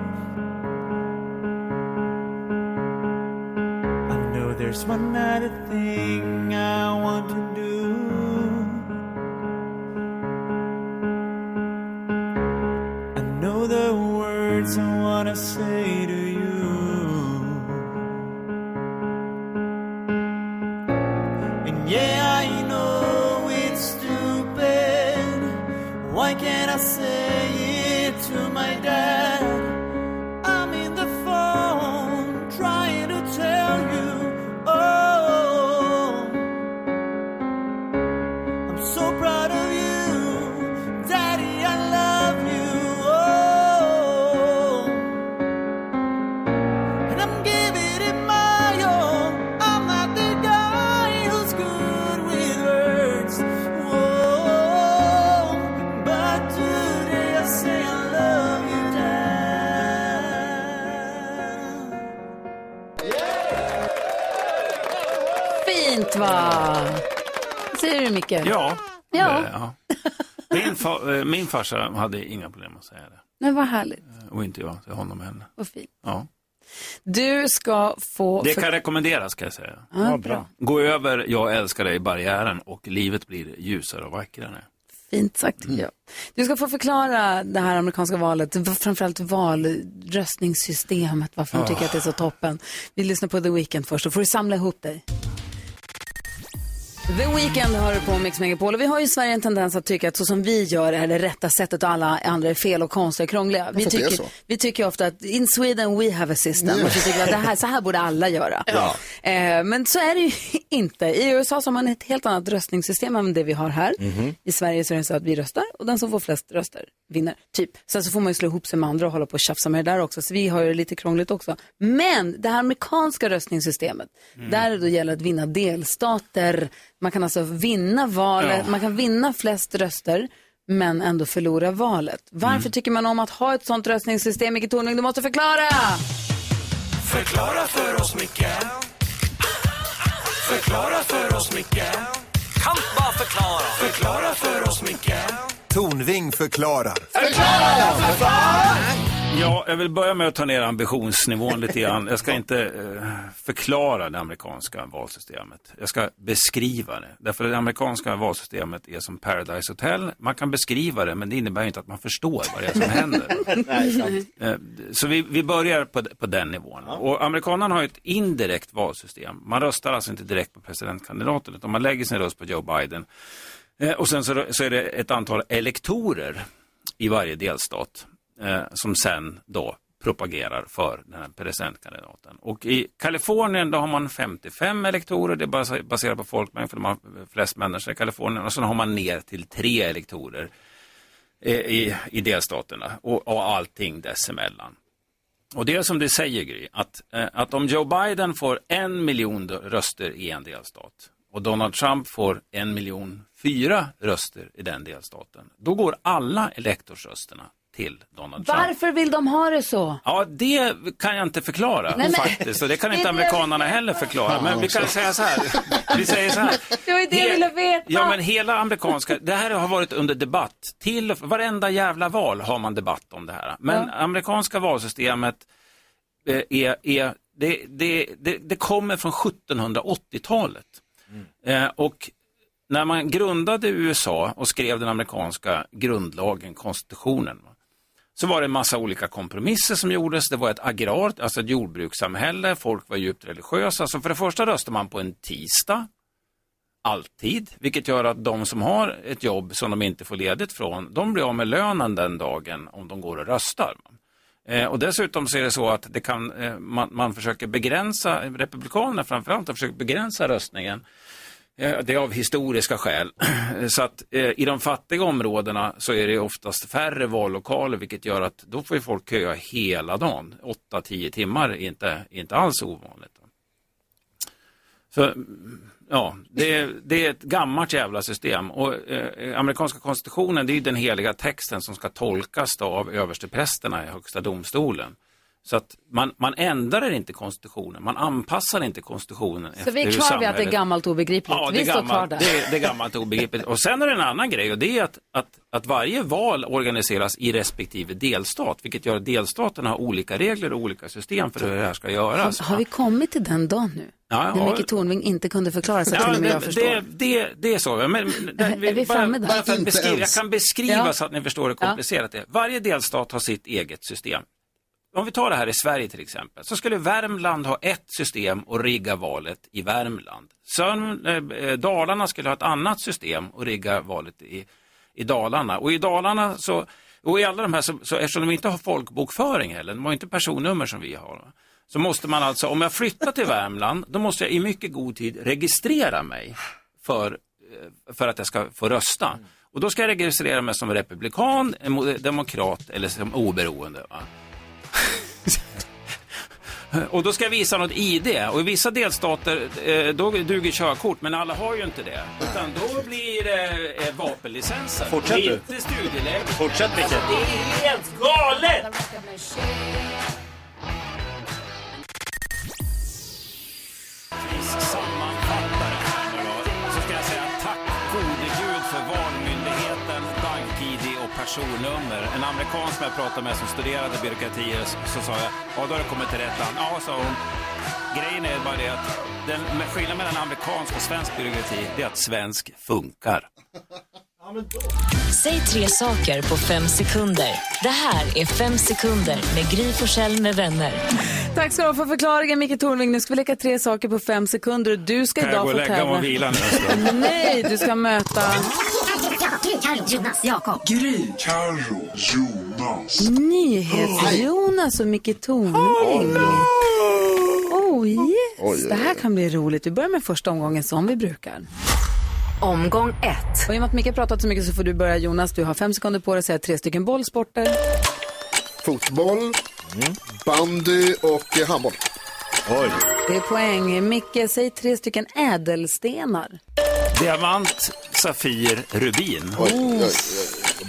I know there's one other thing I want to do. I know the words I wanna say to you. And yeah, I know it's stupid. Why can't I say it to my dad? I'm in the phone trying to tell you, oh, I'm so proud of you, Daddy. I love you, oh, and I'm giving it my all. I'm not the guy who's good with words. Oh, but today I say I love you, Dad. Fint va? Vad säger du Micke? Ja. Ja, Eh, ja. Min, fa- eh, min farsa hade inga problem att säga det. men vad härligt. Eh, Och inte jag till honom heller. Vad fint. Ja. Du ska få... Det kan rekommenderas kan jag säga. Ja, Ja, bra. Gå över Jag älskar dig-barriären och livet blir ljusare och vackrare. Fint sagt tycker jag. Du ska få förklara det här amerikanska valet, v- framförallt valröstningssystemet, varför de Ah. tycker att det är så toppen. Vi lyssnar på The Weeknd först, så får du samla ihop dig. The Weeknd hör på Mix Megapol och vi har ju i Sverige en tendens att tycka att så som vi gör är det rätta sättet och alla andra är fel och konstiga och krångliga. Vi Därför att det är tycker, så. vi tycker ofta att in Sweden we have a system. Ja. Och så tycker vi att det här, så här borde alla göra. Ja. Eh, men så är det ju [laughs] inte. I USA så har man ett helt annat röstningssystem än det vi har här. Mhm. I Sverige så är det så att vi röstar och den som får flest röster vinner. Typ. Sen så får man ju slå ihop sig med andra och hålla på och tjafsa med det där också. Så vi har ju det lite krångligt också. Men det här amerikanska röstningssystemet, Mm. där det då gäller att vinna delstater. Man kan alltså vinna valet, Ja. man kan vinna flest röster men ändå förlora valet. Varför Mm. tycker man om att ha ett sånt röstningssystem? Micke Tornving, du måste förklara! Förklara för oss, Micke. Förklara för oss, Micke. Kan bara förklara. Förklara för oss, Micke. Tornving förklarar. Ja, jag vill börja med att ta ner ambitionsnivån lite grann. Jag ska inte eh, förklara det amerikanska valsystemet. Jag ska beskriva det. Därför det amerikanska valsystemet är som Paradise Hotel. Man kan beskriva det, men det innebär ju inte att man förstår vad det är som händer. Eh, Så vi, vi börjar på, på den nivån. Och amerikanerna har ju ett indirekt valsystem. Man röstar alltså inte direkt på presidentkandidaten, utan man lägger sin röst på Joe Biden. Eh, Och sen så, så är det ett antal elektorer i varje delstat eh, som sen då propagerar för den här presidentkandidaten. Och i Kalifornien då har man 55 elektorer, det är bas- baserat på folkmängd för de har flest människor i Kalifornien och sen har man ner till tre elektorer eh, i, i delstaterna och, och allting dessemellan. Och det är som du säger Gry, att, eh, att om Joe Biden får en miljon dö- röster i en delstat och Donald Trump får en miljon fyra röster i den delstaten, då går alla elektorsrösterna till Donald Trump. Varför vill de ha det så? Ja, det kan jag inte förklara Nej, men- faktiskt. Och det kan Det inte är det jag amerikanerna heller förklara. Men vi kan säga så här. Vi säger så här. Det var ju det jag ville veta. Ja, men hela amerikanska, det här har varit under debatt. Till och- varenda jävla val har man debatt om det här. Men amerikanska valsystemet eh, är, är det, det, det, det kommer från 1780-talet. Eh, och när man grundade USA och skrev den amerikanska grundlagen, konstitutionen, va, så var det en massa olika kompromisser som gjordes. Det var ett agrart, alltså ett jordbrukssamhälle, folk var djupt religiösa. Så för det första röstar man på en tisdag, alltid, vilket gör att de som har ett jobb som de inte får ledigt från, de blir av med lönen den dagen om de går och röstar. Eh, och dessutom så är det så att det kan, eh, man, man försöker begränsa, republikanerna framförallt har försökt begränsa röstningen. Eh, det är av historiska skäl. [clears throat] så att eh, i de fattiga områdena så är det oftast färre vallokaler vilket gör att då får ju folk köa hela dagen. 8-10 timmar är inte, är inte alls ovanligt. Så, ja, det, är- det är ett gammalt jävla system. Och eh, amerikanska konstitutionen, det är ju den heliga texten som ska tolkas då av översteprästerna i högsta domstolen. Så att man, man ändrar inte konstitutionen, man anpassar inte konstitutionen Så efter vi hur är kvar vid att det är samhället- gammalt och obegripligt. Ja, det vi står är, kvar gammalt, där. det, är, det är gammalt och obegripligt. Och sen är det en annan grej och det är att, att, att varje val organiseras i respektive delstat, vilket gör att delstaterna har olika regler och olika system för hur det här ska göras. Har vi kommit till den dagen nu? Ja, när ja. Micke Tornving inte kunde förklara sig Ja, till och med det, jag förstår. Det, det, det är så. Men, men- är vi bara- framme där? bara för att Inte beskriva, jag ens. kan beskriva Ja. så att ni förstår hur komplicerat det är. Varje delstat har sitt eget system. Om vi tar det här i Sverige till exempel, så skulle Värmland ha ett system och rigga valet i Värmland. Sörm, eh, eh, Dalarna skulle ha ett annat system och rigga valet i, i Dalarna. Och i Dalarna så, och i alla de här, så, så eftersom de inte har folkbokföring heller, de har inte personnummer som vi har. va, Så måste man alltså, om jag flyttar till Värmland, då måste jag i mycket god tid registrera mig för eh, för att jag ska få rösta. Och då ska jag registrera mig som republikan, emo- demokrat eller som oberoende. Va? och då ska jag visa något ID. Och i vissa delstater eh, då duger körkort, men alla har ju inte det. Utan då blir det eh, vapenlicenser. Fortsätt du. Inte studieläge. Fortsätt, Micke. Alltså, det är helt galet! sammanfattar det här nu då, så ska jag säga tack gode gud för Valmyndigheten, BankID och personnummer. En amerikan som jag pratade med som studerade byråkratier så, så sa jag, ja då har du kommit till rätt land. Ja, sa hon. Grejen är bara det att den, men skillnaden mellan amerikansk och svensk byråkrati, det är att svensk funkar. Säg tre saker på fem sekunder. Det här är Fem sekunder med Gry Forssell med vänner. Tack ska du ha för förklaringen Micke Tornving. Nu ska vi leka tre saker på fem sekunder och du ska Kan jag idag gå och få lägga mig tävla. och vila nu? Nej, du ska möta... Jonas, Jakob. Gry, Carro, Jonas. Nyhets-Jonas och Micke Tornving. Oh Oj, yes, oj, det här kan bli roligt. Vi börjar med första omgången som vi brukar. Omgång ett. Och i och med att Micke har pratat så mycket så får du börja Jonas. Du har fem sekunder på dig att säga tre stycken bollsporter. Fotboll, bandy och eh, handboll. Oj. Det är poäng. Micke, säg tre stycken ädelstenar. Diamant, safir, rubin.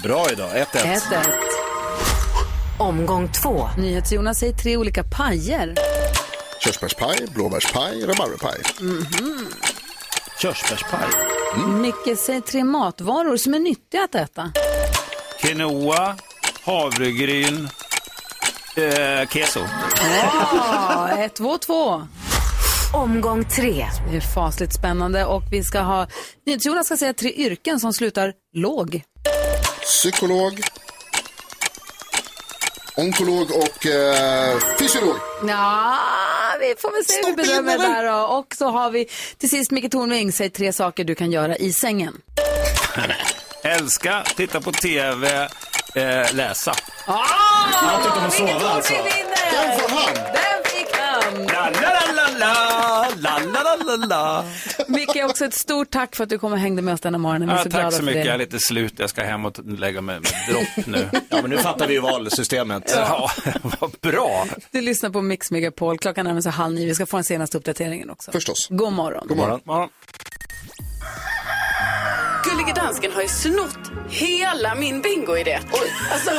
Bra idag, 1-1. Ett, ett. Omgång två. NyhetsJonas säger tre olika pajer. Körsbärspaj, blåbärspaj, rabarberpaj. Mhm. Körsbärspaj. Micke, säg tre matvaror som är nyttiga att äta. Quinoa, havregryn, eh, keso. [laughs] Ja, ett, två, två. Omgång tre. Det är fasligt spännande och vi ska ha, NyhetsJonas ska säga tre yrken som slutar låg. Psykolog, onkolog och eh, fysiolog. Ja, vi får väl se hur vi bedömer det där då. Och så har vi till sist Micke Tornving, säg tre saker du kan göra i sängen. Älska, titta på TV, eh, läsa. Ah, Jag tycker om att sova, Micke Tornving alltså. vinner! Den får han. Den fick han! La, la, la, la, la, la, la, la, la. Micke, också ett stort tack för att du kom och hängde med oss denna morgon. Vi är Ja, så glada tack så för mycket, det. jag är lite slut. Jag ska hem och lägga mig med [laughs] dropp nu. Ja, men nu fattar vi ju valsystemet. Ja, [laughs] vad bra. Du lyssnar på Mix Megapol. Klockan närmar sig halv nio. Vi ska få den senaste uppdateringen också. Förstås. God morgon. God morgon. Gullige dansken har ju snott hela min bingoidé. Alltså,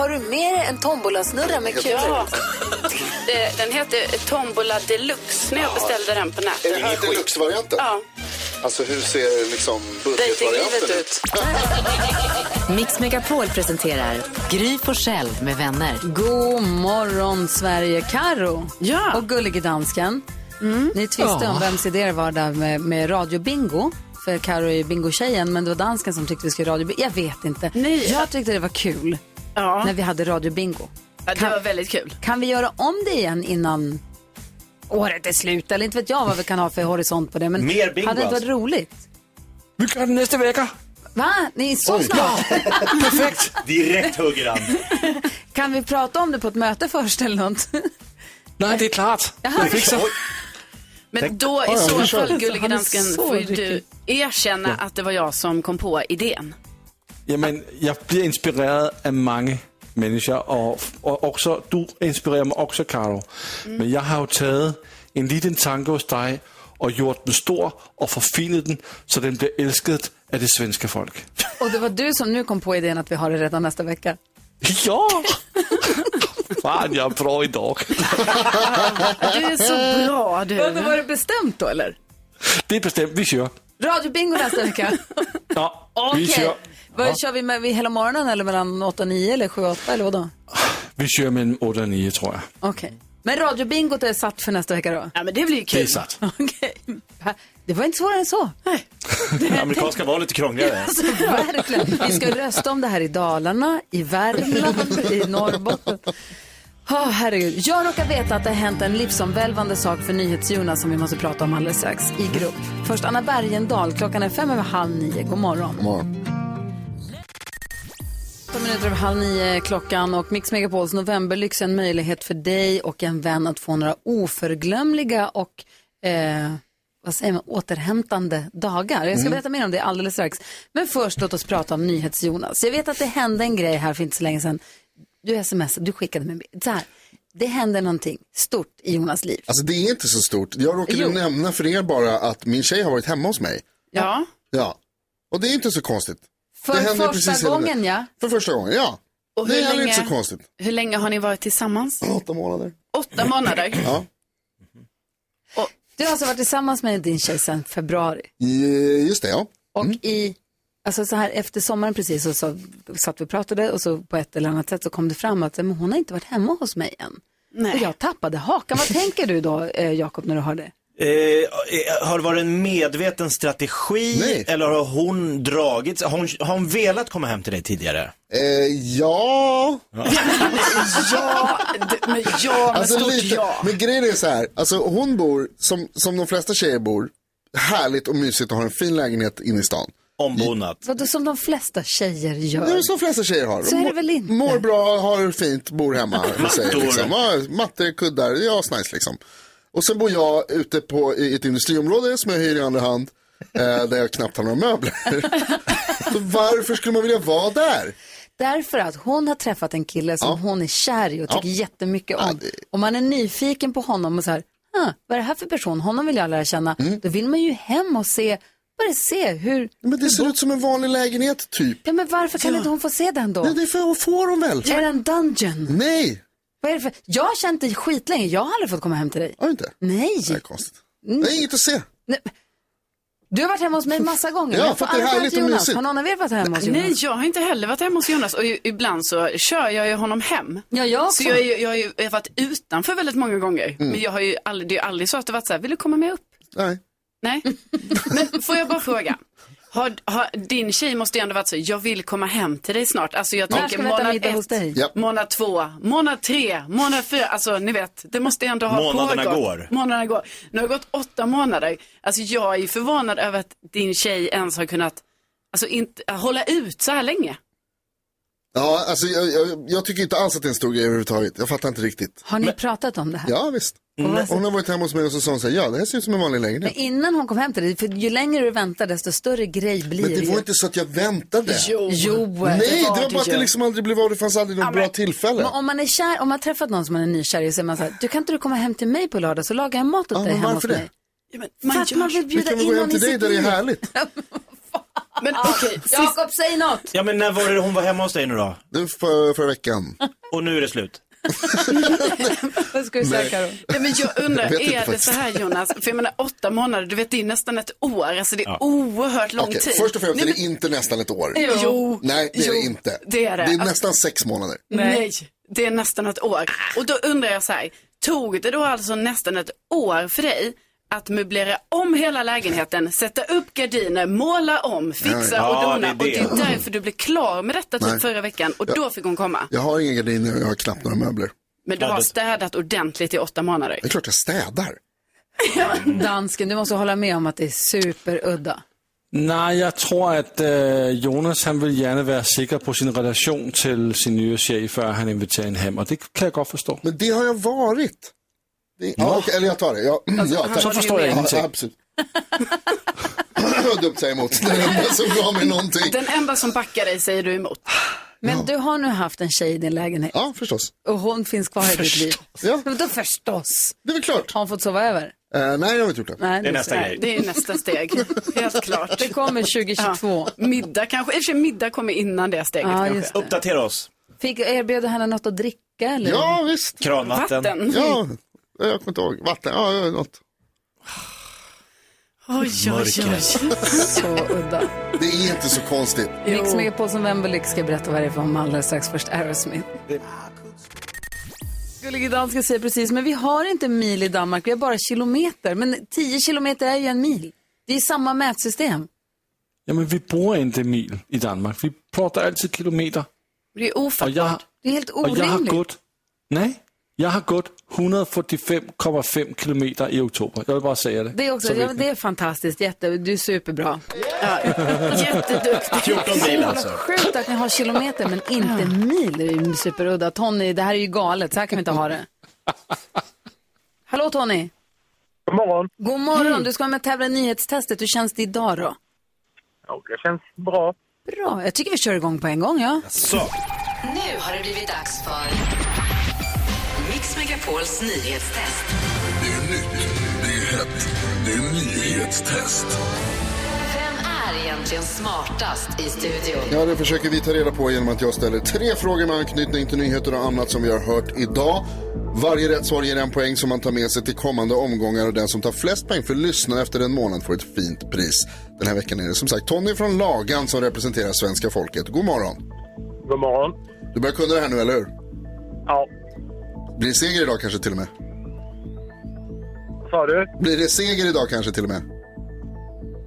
Har du med dig en tombolasnurra med kulor? Ja. Det- Den heter Tombola Deluxe när jag beställde den på nätet. Är det här deluxe-varianten? Ja. Alltså hur ser liksom budgetvarianten Dejtinglivet ut? Mix Megapol presenterar Gry Forssell med vänner. God morgon, Sverige. Karo ja. och gullige dansken. Mm. Ni tvistade Ja. om vems idé det var där med, med radiobingo. För Karo är ju bingotjejen, men det var dansken som tyckte vi skulle radiobingo. Jag vet inte. Jag tyckte det var kul Ja. när vi hade radiobingo. Ja, det var väldigt kul. Kan vi göra om det igen innan året är slut? Eller inte vet jag vad vi kan ha för horisont på det. Men Mer bingo hade det inte varit alltså. roligt? Vi kan nästa vecka. Va? Ni är så snabbt. Perfekt. Direkt hugger han. Kan vi prata om det på ett möte först eller [laughs] något? Nej, det är klart. Jaha. Jag fixar. Men Tänk- då Ja, i ja, så vi kör. fall, gullige Han är dansken, så får ju du ryckig. erkänna Ja. att det var jag som kom på idén. Jamen, jeg bliver inspireret af mange mennesker, og, og også, du inspirerer mig også, Carlo. Men jeg har jo taget en liten tanke hos dig, og gjort den stor, og forfinet den, så den bliver elsket af det svenske folk. Och det var du som nu kom på idén att vi har det redan nästa vecka. Ja! Fan, jag är bra idag. Du är så bra du. Vadå, var det bestämt då eller? Det är bestämt, vi kör. Radiobingo nästa vecka. [laughs] Ja, [laughs] Okej. vi kör. Vad kör vi med vid hela morgonen eller mellan 8 och 9 eller 7 och 8 eller vadå? Vi kör mellan 8 och 9, tror jag. Okej. Men radiobingot är satt för nästa vecka då? [laughs] Ja men det blir ju Det är sant. Det var inte svårare än så. Amerikanska var lite krångligare. Alltså, verkligen. Vi ska rösta om det här i Dalarna, i Värmland, i Norrbotten. Oh, herregud. Jag råkar veta att det har hänt en livsomvälvande sak för NyhetsJonas som vi måste prata om alldeles strax i grupp. Först Anna Bergendahl, klockan är fem över halv nio. God morgon. God morgon. 15 minuter över halv nio är klockan och Mix Megapols novemberlyx är en möjlighet för dig och en vän att få några oförglömliga och eh, vad säger man, återhämtande dagar. Jag ska Mm. berätta mer om det alldeles strax. Men först låt oss prata om NyhetsJonas. Jag vet att det hände en grej här för inte så länge sedan. Du smsade, du skickade mig en bild. så här. Det hände någonting stort i Jonas liv. Alltså det är inte så stort. Jag råkade Jo. nämna för er bara att min tjej har varit hemma hos mig. Ja. Ja. Och det är inte så konstigt. För det händer första precis hela gången, tiden. ja. För första gången, ja. Och det hur är heller länge- inte så konstigt. Hur länge har ni varit tillsammans? Åtta månader. Åtta månader? Ja. Du har alltså varit tillsammans med din tjej sedan februari. Eh, Just det, ja. Och i, alltså så här efter sommaren precis så, så satt vi och pratade och så på ett eller annat sätt så kom det fram att men hon har inte varit hemma hos mig än. Nej. Och jag tappade hakan. Vad tänker du då eh, Jakob när du hör det? Eh, eh, har det varit en medveten strategi eller har hon dragit har hon, har hon velat komma hem till dig tidigare? Eh, ja. [laughs] ja, d- men ja, men Alltså, stort lite- ja. Men grejen är så här, alltså hon bor, som, som de flesta tjejer bor, härligt och mysigt och har en fin lägenhet inne i stan. Ombonat. Vadå som de flesta tjejer Det gör. är väl som de flesta tjejer har. Så är det väl inte. Mår bra, har fint, [laughs] bor hemma. hos sig, Mattor. Liksom. Ja, mattor, kuddar, det är asnice liksom. Och sen bor jag ute på, i ett industriområde som jag hyr i andra hand. Eh, där jag knappt har några möbler. [laughs] så varför skulle man vilja vara där? Därför att hon har träffat en kille som hon är kär i och tycker Ja. jättemycket om. Och man är nyfiken på honom och så här, "Ah, vad är det här för person? Honom vill jag lära känna. Då vill man ju hem och se, bara se hur... Men det ser ut som en vanlig lägenhet typ. Ja, men varför kan inte hon få se den då? Nej, det får, får hon väl? Är det en dungeon? Nej. Vad är det för... Jag har känt dig skitlänge, jag har aldrig fått komma hem till dig. Har du inte? Nej. Mm. Det är konstigt. Det är inget att se. Du har varit hemma hos mig massa gånger. Ja, men jag för får att det aldrig är komma härligt till och Jonas. mysigt. Har någon av er varit hemma hos Jonas? Nej, jag har inte heller varit hemma hos Jonas och ju, ibland så kör jag ju honom hem. Ja, jag också. Så jag, är ju- jag, har ju- jag har varit utanför väldigt många gånger. Mm. Men jag har ju aldrig, det är ju aldrig så att det varit så här, vill du komma med upp? Nej. Nej, men får jag bara fråga. Har, har, din tjej måste ju ändå varit så, jag vill komma hem till dig snart. Alltså jag När tänker ska vi äta månad middag hos dig? ett, Ja. månad två, månad tre, månad fyra. Alltså ni vet, det måste ju ändå ha Månaderna pågått. går. Månaderna går. Nu har det gått åtta månader. Alltså jag är ju förvånad över att din tjej ens har kunnat, alltså inte, hålla ut så här länge. Ja, alltså jag, jag, jag tycker inte alls att det är en stor grej överhuvudtaget. Jag fattar inte riktigt. Har ni pratat om det här? Ja, visst. Mm. Hon- Hon har varit hemma hos mig och så sa hon så här, ja det här ser ut som en vanlig Men lägenhet. innan hon kom hem till dig, för ju längre du väntar desto större grej blir Men det ju. var inte så att jag väntade. Jo. Jo, Nej, det det var var det bara att ju. det liksom aldrig blev av. Det fanns aldrig något bra tillfälle. Men om man är kär, om man har träffat någon som man är nykär i så är man så här, du kan inte du komma hem till mig på lördag så lagar jag mat åt Ja, dig men hemma hos varför det? mig. För att man vill Vi bjuda kan in väl gå någon hem i till dig sitt där det är liv. härligt. Men okej, Jakob, säg något. Ja men när var det hon var hemma hos dig nu då? Nu för, [laughs] förra veckan. Och nu är det slut? Vad ska du säga, Nej. Karo? Nej, men jag undrar, Jag vet inte är det faktiskt. så här Jonas? För jag menar åtta månader, du vet det är nästan ett år. Alltså det är Ja. oerhört lång Okej, tid. Först och främst Nej, är det inte nästan ett år. Jo. Jo. Nej, det är det Jo, inte. det är det. Det är Alltså- nästan sex månader. men, nej, det är nästan ett år. Och då undrar jag så här, tog det då alltså nästan ett år för dig att möblera om hela lägenheten, sätta upp gardiner, måla om, fixa Ja, ja. och Ja, dona. det är det. Och det är därför du blev klar med detta Nej. typ förra veckan och Ja. då fick hon komma. Jag har inga gardiner och jag har knappt några möbler. Men du Ja, har det- städat ordentligt i åtta månader. Det är klart jag städar. Dansken, du måste hålla med om att det är superudda. Nej, jeg tror, at øh, Jonas han vil gerne være sikker på sin relation til sin nye chef, før han inviterer hende hjem, og det kan jeg godt forstå. Men det har jeg været. Det- Ja, Nå. okej, eller jag tar det. Ja, Alltså, ja, han tack. Så förstår jag ingenting. Ja, absolut. [laughs] Dumt säga emot. Det är det enda som gav mig någonting. Den enda som backar dig säger du emot. Men du har nu haft en tjej i din lägenhet. Ja, förstås. Och hon finns kvar i ditt liv. Ja. Men då förstås. Det är väl klart. Har hon fått sova över? Eh, nej, jag har inte gjort det. Nej, det- nästa Nej, Det är nästa [laughs] steg, helt klart. Det kommer 2022. Ja. Middag kanske, i och för sig middag kommer innan det steget Ja, just kanske. Uppdatera oss. Fick, erbjöd henne något att dricka eller? visst. Kranvatten. Vatten. Ja, jag kommer inte ihåg. Vatten, ja, ja, något. Oj, Så udda. Det är inte så konstigt. Mix Megapol som Wembley ska berätta vad det är för om alldeles strax. Först Aerosmith. Gullige danska säger precis, men vi har inte mil i Danmark, vi har bara kilometer. Men 10 kilometer är ju en mil. Det är samma mätsystem. Jamen, vi bruger ikke mil i Danmark. Vi prater altid kilometer. Det är ofattbart. Og jeg, Det är helt og jeg har orimligt. gået... Nej, jeg har gået 145,5 kilometer i oktober. Jeg vil bare sige det. Det är, Så också, ved ja, den. det är fantastiskt, jätte, du är superbra. [laughs] Jätteduktig. 14 mil alltså. Sjukt att ni har kilometer men inte mil, det är ju superudda. Tony, det här är ju galet, så här kan vi inte ha det. Hallå Tony! God morgon! God morgon, du ska vara med och tävla i nyhetstestet. Hur känns det idag då? Ja, det känns bra. Bra, jag tycker vi kör igång på en gång ja. Så. Nu har det blivit dags för Mix Megapols nyhetstest. Det är nytt, det är hett, det är nyhetstest. Vem är egentligen smartast i studion? Ja, det försöker vi ta reda på genom att jag ställer tre frågor med anknytning till nyheter och annat som vi har hört idag. Varje rätt svar ger en poäng som man tar med sig till kommande omgångar och den som tar flest poäng för att lyssna efter en månad får ett fint pris. Den här veckan är det som sagt Tony från Lagan som representerar svenska folket. God morgon! God morgon. Du börjar kunna det här nu, eller hur? Ja. Blir det seger idag kanske till och med? Sa du? Blir det seger idag kanske till och med?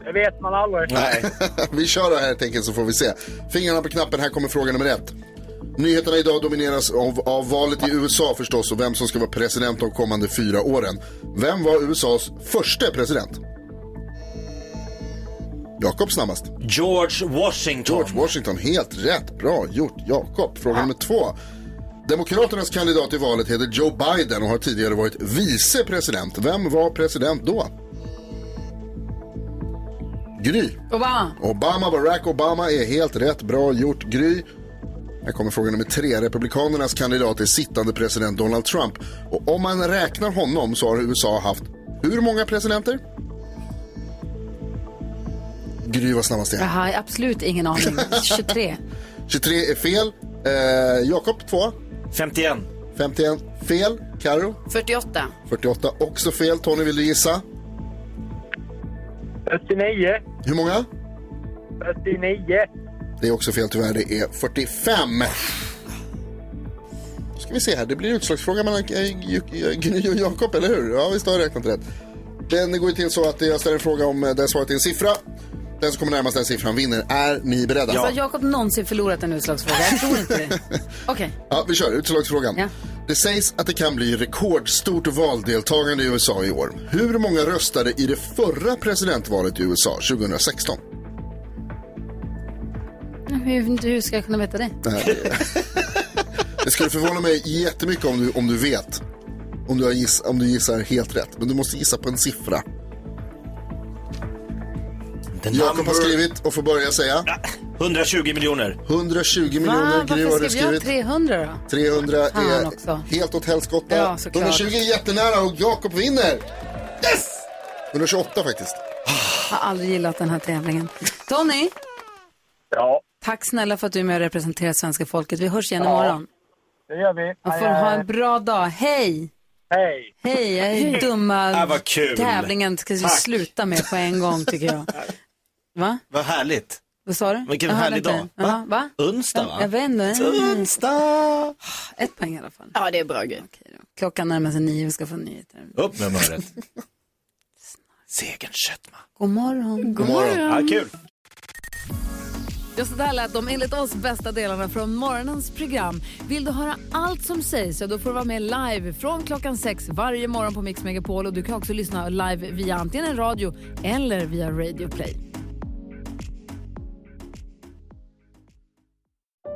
Det vet man aldrig. [laughs] vi kör det här helt enkelt så får vi se. Fingrarna på knappen, här kommer fråga nummer ett. Nyheterna idag domineras av, av valet i USA förstås och vem som ska vara president de kommande fyra åren. Vem var USAs första president? Jakob snabbast. George Washington. George Washington, helt rätt. Bra gjort Jakob. Fråga nummer två. Demokraternas kandidat i valet heter Joe Biden och har tidigare varit vice president. Vem var president då? Gry. Obama. Obama, Barack Obama är helt rätt. Bra gjort, Gry. Här kommer fråga nummer tre. Republikanernas kandidat är sittande president Donald Trump. Och om man räknar honom så har USA haft hur många presidenter? Gry var snabbast Jag igen. har absolut ingen aning. 23. 23 är fel. Eh, Jakob, två. 51. 51 fel. Karo 48. 48 också fel. Tony, vill du gissa? 49. Hur många? 49. Det är också fel tyvärr, det är 45. Då ska vi se här, det blir utslagsfråga mellan eh, Ju- eh, Gry och Jakob, eller hur? Ja, visst har jag räknat rätt. Den går ju till så att jag ställer en fråga om eh, där svaret är en siffra. Den som kommer närmast den siffran vinner. Är ni beredda? Har Jakob någonsin förlorat en utslagsfråga? Jag tror inte det. Okej. Ja, vi kör utslagsfrågan. Det sägs att det kan bli rekordstort valdeltagande i USA i år. Hur många röstade i det förra presidentvalet i USA 2016? Hur, hur ska jag kunna veta det? Nej, det- Det skulle förvåna mig jättemycket om du, om du vet. Om du, har giss, om du gissar helt rätt. Men du måste gissa på en siffra. Jakob har skrivit och får börja säga. 120 miljoner. 120 Va? miljoner. Gry har Varför du skrev jag skrivit. 300 då? 300 Fan är också. helt åt helskotta. Ja, såklart. 120 är jättenära och Jakob vinner. Yes! 128 faktiskt. Har aldrig gillat den här tävlingen. Tony, Ja, Tack snälla för att du är med och representerar svenska folket. Vi hörs igen Ja. imorgon. det gör vi. Man får ha en bra dag. Hej! Hej! Hej, jag är Hej. dumma Ah, vad kul. tävlingen ska vi Tack. sluta med på en gång tycker jag. Va? Vad härligt. Vad sa du? Vilken Jag hörde härlig inte. dag. Ja, Va? Onsdag va? Jag vet inte. Onsdag! Ett poäng i alla fall. Ja, det är bra grej. Klockan närmar sig nio, vi ska få nyheter. Upp med humöret. Segern Köttman. God morgon. God morgon. Ja, kul. Ja, så där lät de enligt oss bästa delarna från morgonens program. Vill du höra allt som sägs så då får du vara med live från klockan sex varje morgon på Mix Megapol. Och du kan också lyssna live via antingen radio eller via Radio Play.